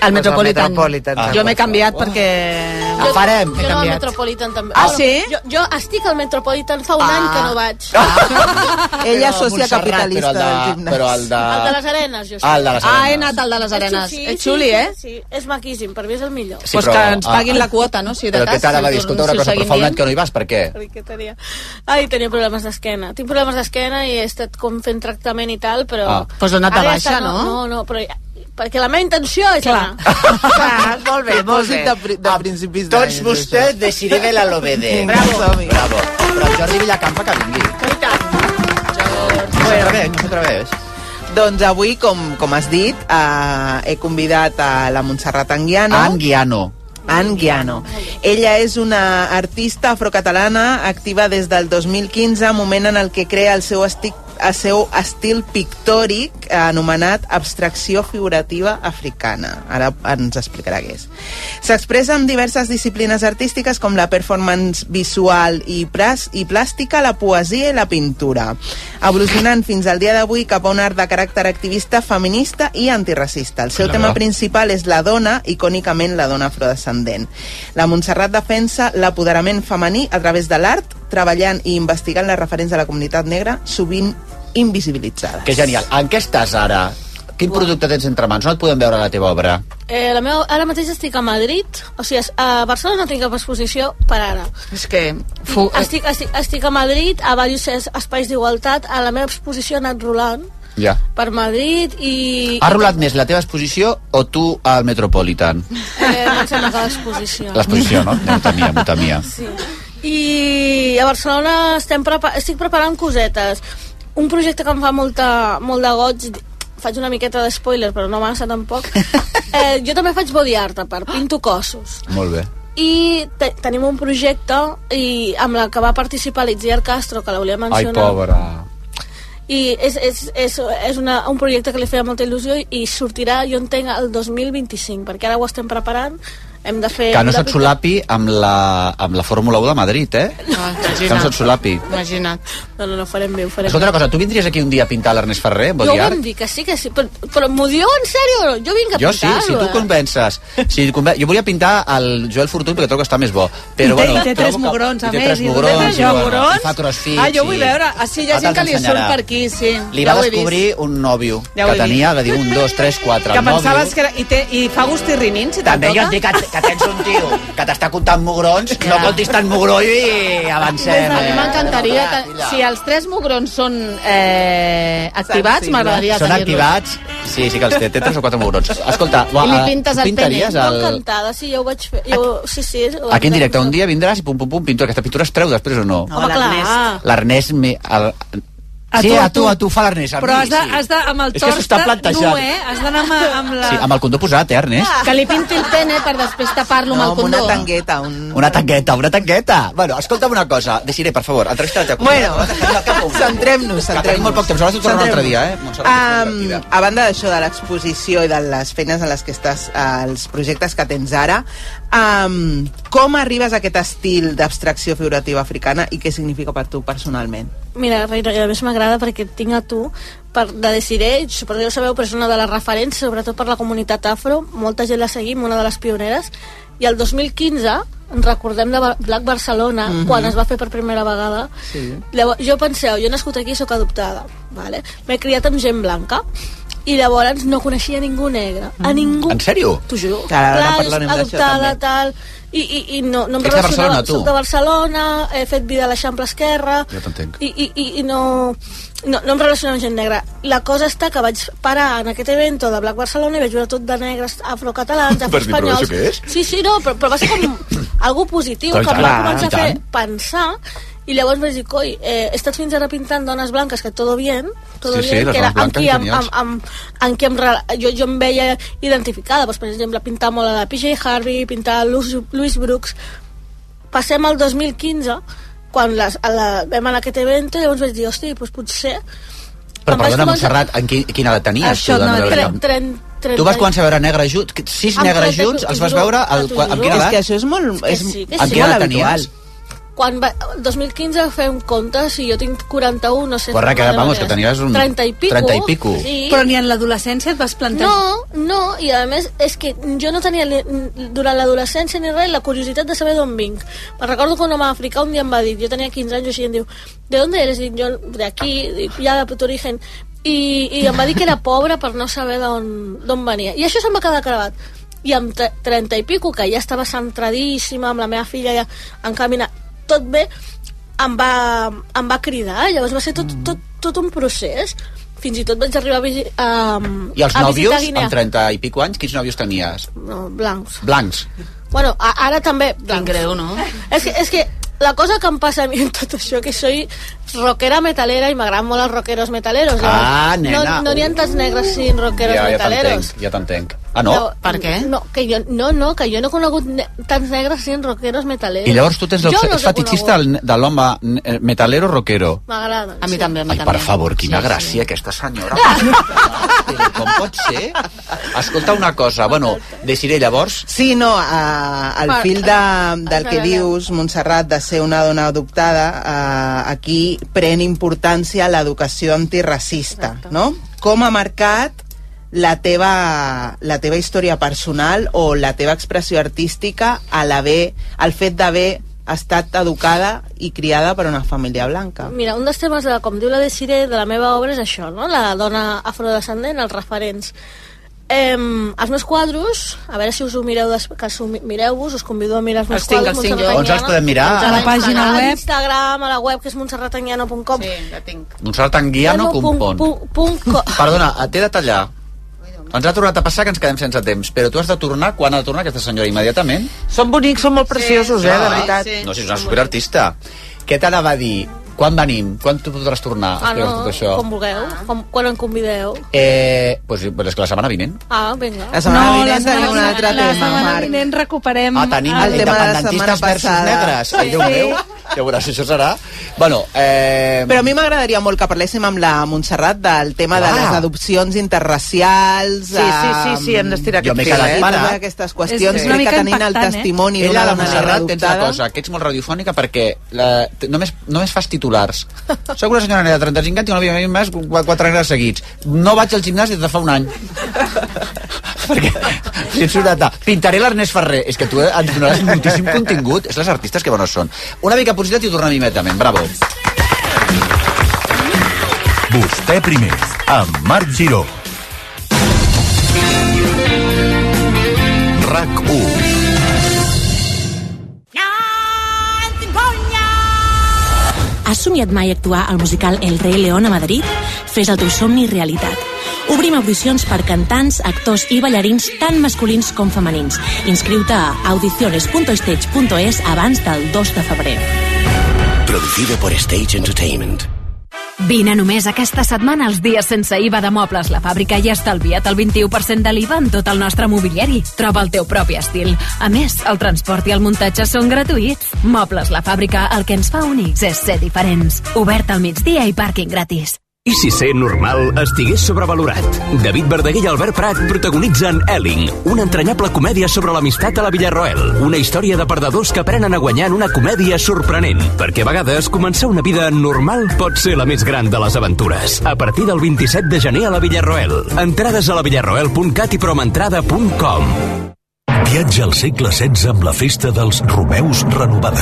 Speaker 2: Ah,
Speaker 5: Al Metropolitan.
Speaker 6: Metropolitan.
Speaker 5: Jo m'he canviat perquè...
Speaker 2: El farem.
Speaker 13: Jo no al Metropolitan també.
Speaker 5: Ah,
Speaker 13: Bueno,
Speaker 5: sí?
Speaker 13: Jo, jo estic al Metropolitan fa un
Speaker 5: Ah.
Speaker 13: any que no vaig.
Speaker 8: Ella és
Speaker 2: Però
Speaker 8: sòcia
Speaker 2: Montserrat,
Speaker 8: capitalista
Speaker 2: però el de-
Speaker 8: del gimnàs.
Speaker 2: Però el de...
Speaker 13: Al de les Arenes, jo estic.
Speaker 2: Ah, al de les Arenes.
Speaker 5: Ah, he anat al de les Arenes.
Speaker 13: Sí,
Speaker 5: És
Speaker 13: sí,
Speaker 5: xuli,
Speaker 13: sí,
Speaker 5: eh?
Speaker 13: Sí, és maquíssim, per mi és el millor.
Speaker 2: Sí,
Speaker 5: Pues
Speaker 2: però-
Speaker 5: que ens paguin
Speaker 2: ah.
Speaker 5: la quota, no? Si de
Speaker 2: Però
Speaker 5: cas,
Speaker 2: què t'anava a
Speaker 5: si
Speaker 2: dir?
Speaker 5: ho-
Speaker 2: Escolta una
Speaker 5: si ho
Speaker 2: cosa, però
Speaker 5: seguim
Speaker 2: fa un
Speaker 5: dient.
Speaker 2: any que no hi vas, per què?
Speaker 13: Perquè tenia... Ai, tenia problemes d'esquena. Tinc problemes d'esquena i he estat com fent tractament i tal, però...
Speaker 2: Ah.
Speaker 5: Pues l'ha anat de
Speaker 13: Ara ja
Speaker 5: baixa,
Speaker 13: està,
Speaker 5: no?
Speaker 13: No, no, però... Perquè la meva intenció és Clar. anar.
Speaker 6: Clar, molt bé, molt bé.
Speaker 8: Propòsit de, pri- de principis d'any.
Speaker 2: Tots vostès decidiré la l'obede.
Speaker 8: Bravo. Som-hi.
Speaker 2: Bravo. Però el Jordi Villacampa que vingui. No s'atreveix, no s'atreveix.
Speaker 8: Doncs avui, com, com has dit, eh, he convidat a la Montserrat Anguiano.
Speaker 2: Anguiano.
Speaker 8: Anne Guiano. Ella és una artista afrocatalana activa des del 2015, moment en el que crea el seu, estic, el seu estil pictòric eh, anomenat abstracció figurativa africana. Ara ens explicarà què és. S'expressa en diverses disciplines artístiques com la performance visual i, pras, i plàstica, la poesia i la pintura, evolucionant fins al dia d'avui cap a un art de caràcter activista, feminista i antiracista. El seu
Speaker 2: La
Speaker 8: tema
Speaker 2: verdad.
Speaker 8: principal és la dona, icònicament la dona afrodescendent. La Montserrat defensa l'apoderament femení a través de l'art, treballant i investigant les referents de la comunitat negra, sovint invisibilitzades.
Speaker 2: Que genial. En què estàs ara? Quin producte tens entre mans? No et podem veure la teva obra.
Speaker 13: Eh, la meva, ara mateix estic a Madrid, o sigui, a Barcelona no tinc cap exposició per ara.
Speaker 6: És que...
Speaker 13: Fu... Estic, estic, estic a Madrid, a diversos espais d'igualtat, a la meva exposició ha anat rolant
Speaker 2: Ja.
Speaker 13: per Madrid i...
Speaker 2: Ha rolat més la teva exposició o tu al Metropolitan?
Speaker 13: Eh, no em sembla que l'exposició.
Speaker 2: L'exposició, no? No ho temia, m'ho temia.
Speaker 13: Sí. I a Barcelona estem prepa estic preparant cosetes. Un projecte que em fa molta, molt de goig, faig una miqueta de spoiler, però no massa tampoc. Eh, jo també faig body art, a part, pinto cossos.
Speaker 2: Molt bé.
Speaker 13: I te tenim un projecte i amb la que va participar l'Itziar Castro, que la volia mencionar. I és, és, és, és una, un projecte que li feia molta il·lusió i, i sortirà, jo entenc, el 2025, perquè ara ho estem preparant, hem de
Speaker 12: Eh,
Speaker 13: fer...
Speaker 2: Que no
Speaker 13: hem de
Speaker 2: se't solapi amb la, amb la Fórmula 1 de Madrid, eh?
Speaker 13: No,
Speaker 2: Que no se't solapi.
Speaker 13: Imagina't. No, no, no, farem bé, ho farem
Speaker 2: Escolta una cosa, tu vindries aquí un dia a pintar l'Ernest Ferrer, en
Speaker 13: bé. Jo
Speaker 2: body
Speaker 13: ho
Speaker 2: art?
Speaker 13: vam dir que sí, que sí, però, però m'ho dieu en sèrio? o no? Jo vinc a
Speaker 2: Jo sí,
Speaker 13: pintar-ho,
Speaker 2: si tu
Speaker 13: eh?
Speaker 2: convences. Si et conven... Jo volia pintar el Joel Fortuny perquè trobo que està més bo. Però,
Speaker 12: I té-
Speaker 2: bueno,
Speaker 12: i té
Speaker 2: trobo
Speaker 12: tres
Speaker 2: que-
Speaker 12: mugrons, a
Speaker 2: i té
Speaker 12: més,
Speaker 2: Tres
Speaker 12: i té
Speaker 2: mugrons,
Speaker 12: tres
Speaker 2: i, bueno,
Speaker 12: mugrons.
Speaker 2: i fa crossfit.
Speaker 12: Ah, jo vull
Speaker 2: i-
Speaker 12: veure. Ah, sí, hi ha
Speaker 2: Ara
Speaker 12: gent que
Speaker 2: te'ls
Speaker 12: li surt
Speaker 2: ensenyarà.
Speaker 12: per aquí, sí.
Speaker 2: Li
Speaker 12: Ja
Speaker 2: va
Speaker 12: ho he
Speaker 2: descobrir un nòvio
Speaker 12: Ja ho
Speaker 2: que
Speaker 12: he vist.
Speaker 2: tenia, va dir un, dos, tres, quatre.
Speaker 12: Que
Speaker 2: el
Speaker 12: pensaves
Speaker 2: nòvio-
Speaker 12: que era... I, té, i fa gust i rinint, si te'n
Speaker 2: També jo
Speaker 12: toca.
Speaker 2: et dic que, que tens un tio que t'està comptant mugrons, no comptis tant mugró i avancem.
Speaker 12: A mi m'encantaria... que- Si els tres mugrons són eh, activats, m'agradaria
Speaker 2: Són
Speaker 12: tenir-los.
Speaker 2: activats? Sí, sí que els té, té tres o quatre mugrons. Escolta, va,
Speaker 12: I li
Speaker 2: eh,
Speaker 12: pintes
Speaker 2: tu
Speaker 12: el
Speaker 2: pintaries
Speaker 13: Jo
Speaker 2: el...
Speaker 13: encantada, sí, jo ho vaig fer. Jo, sí, sí. ho
Speaker 2: Aquí en
Speaker 13: vam
Speaker 2: directe,
Speaker 13: fer.
Speaker 2: un dia vindràs i pum, pum, pum, pintura. Aquesta pintura es treu després o no?
Speaker 13: Home, clar.
Speaker 2: L'Ernest... Me... El...
Speaker 12: A
Speaker 2: sí,
Speaker 12: tu, a
Speaker 2: a tu,
Speaker 12: tu.
Speaker 2: a tu fa l'Ernest. a
Speaker 12: Però
Speaker 2: mi,
Speaker 12: has de,
Speaker 2: sí.
Speaker 12: has de amb el
Speaker 2: És que s'ho
Speaker 12: tors
Speaker 2: està
Speaker 12: nu,
Speaker 2: plantejant.
Speaker 12: eh? Has d'anar amb, amb la...
Speaker 2: Sí, amb el condó posat, eh, Ernest?
Speaker 12: Que li pinti el pene per després tapar-lo
Speaker 8: No,
Speaker 12: amb el
Speaker 8: amb una
Speaker 12: condó.
Speaker 8: tangueta,
Speaker 13: Ah.
Speaker 8: un...
Speaker 2: Una tanqueta, una tanqueta. Bueno, escolta'm una cosa. Deixiré, per favor, entrevista la teva
Speaker 8: Bueno, centrem-nos,
Speaker 2: Que tenim
Speaker 8: centrem-nos.
Speaker 2: molt poc temps, ara t'ho torno un altre dia, eh? Montserrat, és molt
Speaker 8: Um,
Speaker 2: divertida.
Speaker 8: a banda d'això, de l'exposició i de les feines en les que estàs, eh, els projectes que tens ara, um, com arribes a aquest estil d'abstracció figurativa africana i què significa per tu personalment?
Speaker 13: Mira, Reina, i a més m'agrada perquè et tinc a tu per, de Desiré, suposo que ja ho sabeu, però és una de les referents, sobretot per la comunitat afro, molta gent la seguim, una de les pioneres, i el 2015 ens recordem de Ba- Black Barcelona,
Speaker 2: Mhm.
Speaker 13: mm -hmm. quan es va fer per primera vegada. Sí. Llavors, jo penseu, jo he nascut aquí i sóc adoptada, vale? m'he criat amb gent blanca, i llavors no coneixia ningú negre. A ningú.
Speaker 2: En sèrio?
Speaker 13: T'ho juro.
Speaker 2: Mm. Clar, ara
Speaker 13: Clar,
Speaker 2: parlarem
Speaker 13: és
Speaker 2: d'això,
Speaker 13: adoptada,
Speaker 2: també.
Speaker 13: tal... I, i, i no, no
Speaker 2: Ets
Speaker 13: em
Speaker 2: de
Speaker 13: relacionava.
Speaker 2: Barcelona, tu?
Speaker 13: Soc de Barcelona, he fet vida a l'Eixample Esquerra...
Speaker 2: Ja t'entenc.
Speaker 13: I, i, i, i no, no, no em relaciono amb gent negra. La cosa està que vaig parar en aquest evento de Black Barcelona i vaig veure tot de negres afrocatalans,
Speaker 2: Vas dir, "Però
Speaker 13: afroespanyols...
Speaker 2: això què és?"
Speaker 13: Sí, sí, no, però, però va ser com algú positiu
Speaker 2: Clar,
Speaker 13: que em
Speaker 2: clar,
Speaker 13: va començar
Speaker 2: i
Speaker 13: a fer
Speaker 2: tant.
Speaker 13: pensar i llavors vaig dir, coi, eh, he estat fins ara pintant dones blanques, que todo bien, todo
Speaker 2: Sí, sí,
Speaker 13: bien,
Speaker 2: les
Speaker 13: que era
Speaker 2: dones
Speaker 13: amb qui,
Speaker 2: blanques,
Speaker 13: amb,
Speaker 2: genials.
Speaker 13: amb, amb, amb qui em, rela- jo, jo em veia identificada, doncs, per exemple, pintar molt a la PJ Harvey, pintar a Louis, Louis Brooks. Passem al 2015, quan les, a la, vam anar a aquest evento, llavors vaig dir, hosti, doncs potser...
Speaker 2: Però
Speaker 13: Em vaig
Speaker 2: perdona,
Speaker 13: començar-
Speaker 2: Montserrat, en qui, quina edat tenies?
Speaker 13: Això
Speaker 2: tu, de
Speaker 13: no,
Speaker 2: veure
Speaker 13: tre-
Speaker 2: allò?
Speaker 13: tren- tren-
Speaker 2: Tu vas començar a veure negres junts, que- sis
Speaker 13: Amb
Speaker 2: negres
Speaker 13: trenta-
Speaker 2: junts, els vas
Speaker 13: t'ho juro,
Speaker 2: veure al,
Speaker 13: t'ho
Speaker 2: quan- amb
Speaker 13: juro.
Speaker 2: quina
Speaker 13: És
Speaker 2: edat?
Speaker 13: que això és molt- és- Que sí, que
Speaker 2: Amb
Speaker 13: sí.
Speaker 2: quina
Speaker 13: molt
Speaker 2: edat
Speaker 13: habitual.
Speaker 2: tenies?
Speaker 13: Quan va, 2015 fem comptes i jo tinc 41, no sé...
Speaker 2: Corre, que,
Speaker 13: no, no,
Speaker 2: vamos,
Speaker 13: no,
Speaker 2: que
Speaker 13: no,
Speaker 2: tenies un
Speaker 13: 30 i pico.
Speaker 2: 30 i pico.
Speaker 13: Sí.
Speaker 12: Però ni en l'adolescència et vas plantejar...
Speaker 13: No, no, i a més és que jo no tenia li- durant l'adolescència ni res la curiositat de saber d'on vinc. Me'n recordo que un home africà un dia em va dir, jo tenia 15 anys o així, em diu, ¿de dónde eres? Dic, jo, de aquí, dic, ja de tu origen. I, I em va dir que era pobre per no saber d'on d'on venia. I això se'm va quedar gravat. I amb tre- 30 i pico, que ja estava centradíssima, amb la meva filla ja encaminada, tot bé, em va, em va cridar, llavors va ser tot,
Speaker 2: Mm.
Speaker 13: tot, tot un procés. Fins i tot vaig arribar a, visi, a,
Speaker 2: I els
Speaker 13: a visitar
Speaker 2: nòvios,
Speaker 13: Guinea.
Speaker 2: amb 30 i pico anys, quins nòvios tenies?
Speaker 13: No, blancs.
Speaker 2: Blancs.
Speaker 13: Bueno, a, ara també blancs.
Speaker 5: greu, no?
Speaker 13: És que, és que la cosa que em passa a mi en tot això, que soy rockera metalera i m'agraden molt els rockeros metaleros.
Speaker 2: Ah,
Speaker 13: Llavors,
Speaker 2: nena.
Speaker 13: No n'hi ha tants negres sin rockeros
Speaker 2: ja, ja
Speaker 13: metaleros.
Speaker 2: t'entenc, ja t'entenc. Ah, no?
Speaker 13: per què? No, que jo, no, no, que jo no he conegut ne tants negres sin rockeros metaleros.
Speaker 2: I llavors tu tens el
Speaker 13: Eh, Jo no els
Speaker 2: és
Speaker 13: he
Speaker 2: fetichista
Speaker 13: conegut.
Speaker 2: del- de l'home eh, metalero rockero.
Speaker 13: M'agrada. doncs,
Speaker 5: A mi també, a mi
Speaker 2: Ai,
Speaker 5: també.
Speaker 2: per favor, quina
Speaker 5: Sí, sí.
Speaker 2: gràcia aquesta senyora. Com pot ser? Escolta una cosa, bueno, deixaré llavors...
Speaker 8: Sí, no, eh, el
Speaker 2: Per-
Speaker 8: fill de, del que
Speaker 2: Espera,
Speaker 8: dius, Montserrat, de ser una dona adoptada, eh, aquí pren importància l'educació antiracista, no? Com ha marcat la teva, la teva història personal o la teva expressió artística a l'haver, al fet d'haver estat educada i criada per una família blanca.
Speaker 13: Mira, un dels temes, de, com diu la Desiré, de la meva obra és això, no? la dona afrodescendent, els referents. Em, els meus quadros, a veure si us ho mireu, des, que us ho mi- mireu-vos, us convido a mirar els meus
Speaker 5: Els tinc,
Speaker 13: quadros.
Speaker 5: els tinc
Speaker 2: jo.
Speaker 13: Montserrat
Speaker 2: On els
Speaker 13: Anyana.
Speaker 2: podem mirar? A
Speaker 13: Doncs
Speaker 2: la
Speaker 13: Instagram,
Speaker 2: pàgina web?
Speaker 13: A Instagram, a la web, que és montserratanguiano.com. Sí,
Speaker 5: la tinc.
Speaker 2: Montserrat Anguiano compon. Perdona, eh, t'he de tallar. Ens ha tornat a passar que ens quedem sense temps, però tu has de tornar, quan ha de tornar aquesta senyora? Immediatament?
Speaker 6: Són bonics, són molt preciosos, sí, eh, de
Speaker 2: Ah,
Speaker 6: veritat.
Speaker 2: No, si és una superartista. Què t'anava a dir? Quan venim? Quan tu podràs tornar?
Speaker 13: Ah,
Speaker 2: Explica'ns
Speaker 13: no,
Speaker 2: tot això.
Speaker 13: com vulgueu, com, quan em convideu.
Speaker 2: Eh, pues, pues és que la setmana vinent.
Speaker 13: Ah, vinga.
Speaker 8: La setmana
Speaker 12: No,
Speaker 8: vinent
Speaker 12: la setmana-
Speaker 8: tenim un altre
Speaker 12: la
Speaker 8: tema,
Speaker 12: setmana
Speaker 8: Marc.
Speaker 12: vinent recuperem...
Speaker 2: Ah, tenim
Speaker 12: el tema de la
Speaker 2: independentistes
Speaker 12: setmana
Speaker 2: versus
Speaker 12: passada.
Speaker 2: negres. Ai, Déu meu. Ja veuràs, això serà... Bueno, eh...
Speaker 8: Però a mi m'agradaria molt que parléssim amb la Montserrat del tema de les adopcions interracials...
Speaker 6: Sí, sí, sí, sí, hem d'estirar
Speaker 2: Jo
Speaker 6: aquest
Speaker 2: m'he
Speaker 6: fil,
Speaker 2: quedat
Speaker 6: eh?
Speaker 2: mare.
Speaker 8: Totes aquestes qüestions,
Speaker 6: És
Speaker 8: crec
Speaker 6: una
Speaker 8: que
Speaker 6: mica
Speaker 8: tenint el
Speaker 6: impactant, eh?
Speaker 8: testimoni
Speaker 2: Ella,
Speaker 8: d'una
Speaker 2: la
Speaker 8: dona negra
Speaker 2: Montserrat, tens una
Speaker 8: adoptada...
Speaker 2: cosa, que ets molt radiofònica perquè la, t- només, només fas titulars. Soc una senyora nena de 35 anys i no havia vist més qu- quatre negres seguits. No vaig al gimnàs des de fa un any. perquè si ets una ta- Pintaré l'Ernest Ferrer. És que tu eh, ens donaràs moltíssim contingut. És les artistes que bones són. Una mica publicitat i tornem immediatament. Bravo.
Speaker 11: Vostè primer, amb Marc Giró. RAC 1.
Speaker 15: Has somiat mai actuar al musical El rei León a Madrid? Fes el teu somni realitat. Obrim audicions per cantants, actors i ballarins tant masculins com femenins. Inscriu-te a audiciones.stage.es abans del 2 de febrer.
Speaker 16: Producido por Stage Entertainment.
Speaker 17: Vine només aquesta setmana als dies sense IVA de Mobles La Fàbrica i estalvia't el 21% de l'IVA en tot el nostre mobiliari. Troba el teu propi estil. A més, el transport i el muntatge són gratuïts. Mobles La Fàbrica, el que ens fa únics és ser diferents. Obert al migdia i pàrquing gratis.
Speaker 7: I si ser normal estigués sobrevalorat? David Verdaguer i Albert Prat protagonitzen Elling, una entranyable comèdia sobre l'amistat a la Villarroel. Una història de perdedors que aprenen a guanyar en una comèdia sorprenent, perquè a vegades començar una vida normal pot ser la més gran de les aventures. A partir del 27 de gener a la Villarroel. Entrades a la villarroel.cat i promentrada.com.
Speaker 11: Viatge al segle XVI amb la festa dels Romeus renovada.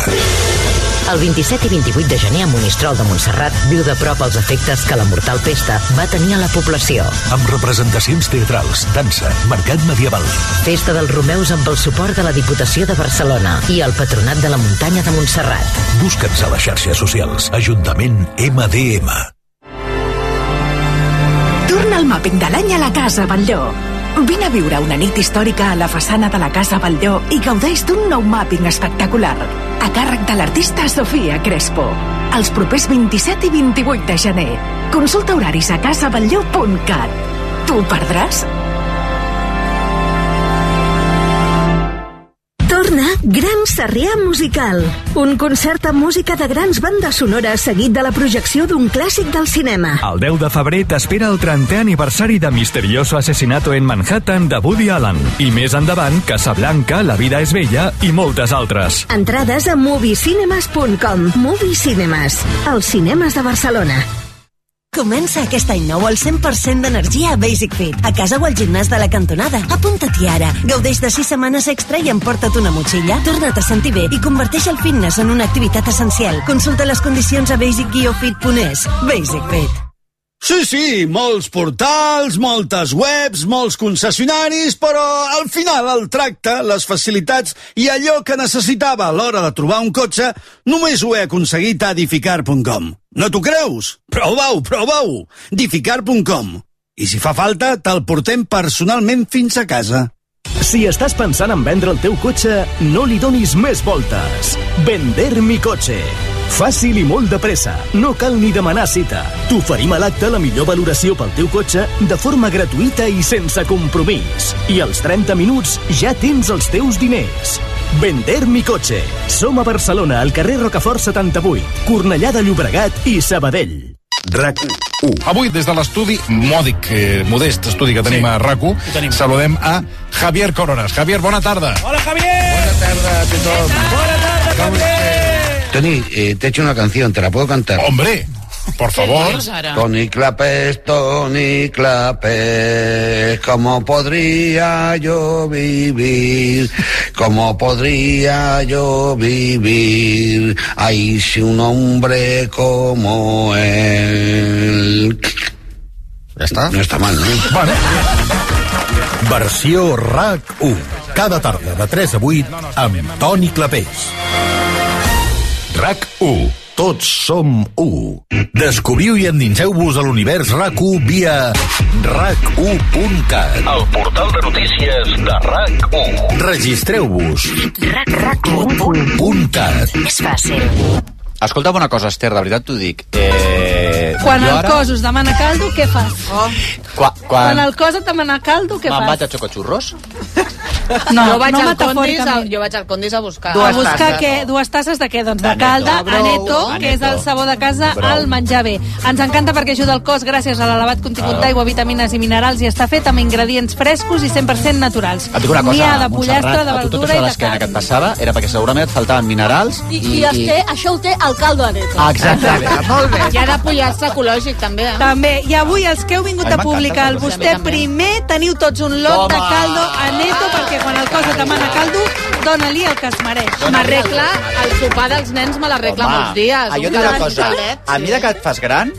Speaker 18: El 27 i 28 de gener a Monistrol de Montserrat viu de prop els efectes que la mortal pesta va tenir a la població.
Speaker 19: Amb representacions teatrals, dansa, mercat medieval.
Speaker 18: Festa dels Romeus amb el suport de la Diputació de Barcelona i el Patronat de la Muntanya de Montserrat.
Speaker 19: Busca'ns a les xarxes socials. Ajuntament MDM.
Speaker 20: Torna el màping de l'any a la Casa Batlló. Vine a viure una nit històrica a la façana de la Casa Batlló i gaudeix d'un nou màping espectacular a càrrec de l'artista Sofia Crespo. Els propers 27 i 28 de gener. Consulta horaris a casaballó.cat. Tu perdràs?
Speaker 21: Torna Gran Sarrià Musical, un concert amb música de grans bandes sonores seguit de la projecció d'un clàssic del cinema.
Speaker 22: El 10 de febrer t'espera el 30è aniversari de Misterioso Asesinato en Manhattan de Woody Allen. I més endavant, Casablanca, La vida és bella i moltes altres.
Speaker 21: Entrades a moviecinemas.com. Movie Cinemas, els cinemes de Barcelona.
Speaker 23: Comença aquest any nou al 100% d'energia a Basic Fit. A casa o al gimnàs de la cantonada. Apunta-t'hi ara. Gaudeix de 6 setmanes extra i emporta't una motxilla. Torna't a sentir bé i converteix el fitness en una activitat essencial. Consulta les condicions a basic-fit.es. Basic Fit.
Speaker 14: Sí, sí, molts portals, moltes webs, molts concessionaris, però al final el tracte, les facilitats i allò que necessitava a l'hora de trobar un cotxe només ho he aconseguit a edificar.com. No t'ho creus? Prova-ho, prova-ho! edificar.com. I si fa falta, te'l portem personalment fins a casa.
Speaker 24: Si estàs pensant en vendre el teu cotxe, no li donis més voltes. Vender mi cotxe. Fàcil i molt de pressa. No cal ni demanar cita. T'oferim a l'acte la millor valoració pel teu cotxe de forma gratuïta i sense compromís. I als 30 minuts ja tens els teus diners. Vender mi cotxe. Som a Barcelona, al carrer Rocafort 78, Cornellà de Llobregat i Sabadell.
Speaker 25: RAC 1. Avui, des de l'estudi mòdic, eh, modest estudi que tenim sí. a RAC 1, saludem a Javier Coronas. Javier, bona tarda.
Speaker 26: Hola, Javier.
Speaker 25: Bona tarda a tothom.
Speaker 26: Bona tarda, Javier.
Speaker 27: Tony, eh, te he hecho una canción, ¿te la puedo cantar?
Speaker 25: Hombre, por favor.
Speaker 27: Tony Clapes, Tony Clapes, ¿cómo podría yo vivir? ¿Cómo podría yo vivir? Ahí si un hombre como él.
Speaker 25: ¿Ya está?
Speaker 27: No está mal, ¿no?
Speaker 25: Vale.
Speaker 19: Versió RAC 1. Cada tarda de 3 a 8 amb Toni Clapés. RAC 1. Tots som 1. Descobriu i endinseu-vos a l'univers RAC1 via rac1.cat.
Speaker 28: El portal de notícies de RAC1.
Speaker 19: Registreu-vos. rac1.cat.
Speaker 27: És fàcil.
Speaker 2: Escolta'm una cosa, Esther, de veritat t'ho dic. Eh,
Speaker 12: Quan
Speaker 2: jo
Speaker 12: el
Speaker 2: ara-
Speaker 12: cos us demana caldo, què fas? Oh.
Speaker 2: Qua,
Speaker 12: Quan
Speaker 2: quan...
Speaker 12: el cos et demana caldo, què
Speaker 2: Me'n
Speaker 12: fas?
Speaker 2: vaig a Xocotxurros?
Speaker 12: No,
Speaker 5: jo vaig
Speaker 12: no
Speaker 5: al Condis, a,
Speaker 12: metafòricament.
Speaker 5: jo vaig al Condis a buscar.
Speaker 12: a buscar què? Dues tasses de què? Doncs de calda,
Speaker 5: Brou.
Speaker 12: aneto, que és el sabó de casa
Speaker 5: Brou.
Speaker 12: al menjar bé. Ens encanta perquè ajuda el cos gràcies a l'elevat contingut
Speaker 2: Ah.
Speaker 12: d'aigua, vitamines i minerals i està fet amb ingredients frescos i 100% naturals.
Speaker 2: Et dic una
Speaker 12: N'hi
Speaker 2: cosa,
Speaker 12: ha de pollastre,
Speaker 2: Montserrat,
Speaker 12: de
Speaker 2: a tu tot això de
Speaker 12: verdura i de
Speaker 2: l'esquena que
Speaker 12: carn.
Speaker 2: et passava era perquè segurament et faltaven minerals
Speaker 13: I, i, es té, això ho té el caldo aneto.
Speaker 2: Ah, Exacte.
Speaker 13: Molt bé.
Speaker 5: Hi ha de pollastre ecològic, també. Eh?
Speaker 12: També. I avui, els que heu vingut
Speaker 5: Ai,
Speaker 12: a
Speaker 5: m'encanta
Speaker 12: publicar el
Speaker 5: el caldo.
Speaker 12: vostè primer, teniu tots un lot
Speaker 5: Toma!
Speaker 12: de caldo a neto, perquè quan el cos et demana caldo, dona-li el que es mereix.
Speaker 5: M'arregla el sopar dels nens, me l'arregla
Speaker 2: Home,
Speaker 5: molts dies.
Speaker 2: ah, jo tinc una
Speaker 5: Cada
Speaker 2: cosa.
Speaker 5: nit.
Speaker 2: A mesura que et fas gran,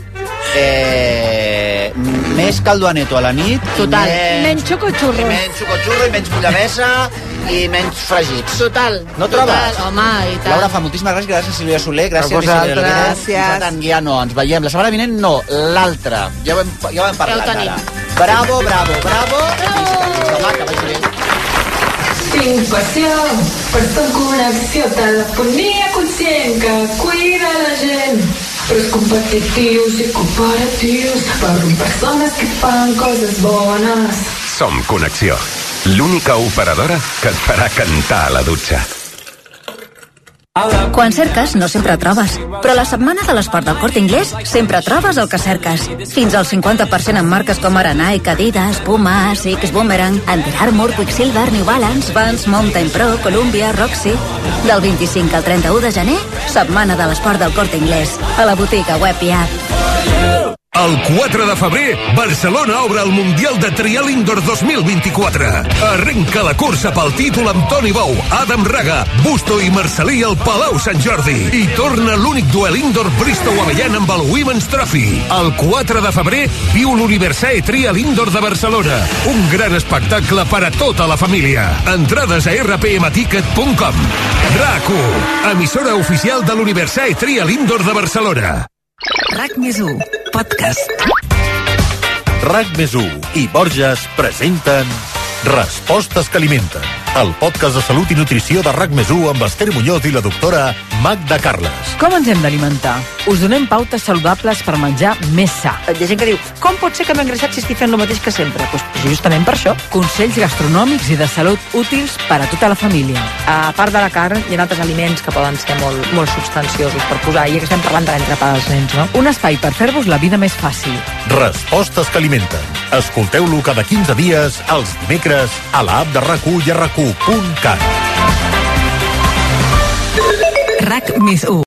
Speaker 2: eh, més caldo a neto a la nit...
Speaker 5: Total.
Speaker 2: i Menys,
Speaker 12: Menys xocotxurros.
Speaker 2: I menys xocotxurro i menys pollamesa i menys fregits.
Speaker 5: Total.
Speaker 2: No trobes?
Speaker 5: Total, home, i tant.
Speaker 2: Laura, fa moltíssimes gràcies, gràcies Silvia Soler, gràcies
Speaker 6: A vosaltres.
Speaker 2: Vicente Olivera.
Speaker 6: Gràcies.
Speaker 2: Nosaltres ja no, ens veiem. La setmana vinent no, l'altra. Ja ho hem, ja
Speaker 6: Ja
Speaker 2: ho hem
Speaker 6: ho
Speaker 2: parlat
Speaker 6: tenim.
Speaker 2: ara. Bravo, bravo, bravo.
Speaker 29: Sin pasión por tu acció, telefonia conscient que cuida la gent. Preus competitius i comparatius per persones que fan coses bones.
Speaker 11: Som Connexió, l'única operadora que et farà cantar a la dutxa.
Speaker 30: Quan cerques, no sempre trobes. Però la setmana de l'esport del Corte Inglés sempre trobes el que cerques. Fins al 50% en marques com ara Nike, Adidas, Puma, Six, Boomerang, Under Armour, Quicksilver, New Balance, Vans, Mountain Pro, Columbia, Roxy... Del 25 al 31 de gener, setmana de l'esport del Corte Inglés. A la botiga web i app.
Speaker 11: El 4 de febrer, Barcelona obre el Mundial de Trial Indoor 2024. Arrenca la cursa pel títol amb Toni Bou, Adam Raga, Busto i Marcelí al Palau Sant Jordi. I torna l'únic duel indoor Bristow Avellan amb el Women's Trophy. El 4 de febrer, viu l'Universae Trial Indoor de Barcelona. Un gran espectacle per a tota la família. Entrades a rpmticket.com. RAC1, emissora oficial de l'Universae Trial Indoor de Barcelona.
Speaker 14: RAC més 1, podcast.
Speaker 31: RAC més 1 i Borges presenten Respostes que alimenten. El podcast de salut i nutrició de RAC més 1 amb Esther Muñoz i la doctora Magda Carles.
Speaker 20: Com ens hem d'alimentar? Us donem pautes saludables per menjar més sa.
Speaker 32: Hi ha gent que diu, com pot ser que m'he engreixat si estic fent el mateix que sempre? Doncs pues, justament per això.
Speaker 20: Consells gastronòmics i de salut útils per a tota la família.
Speaker 15: A part de la carn, hi ha altres aliments que poden ser molt, molt substanciosos per posar, i estem parlant de l'entrepà dels nens, no?
Speaker 20: Un espai per fer-vos la vida més fàcil.
Speaker 31: Respostes que alimenten. Escolteu-lo cada 15 dies, els dimecres, a l'app de rac i a rac RAC1.cat.
Speaker 14: RAC més 1.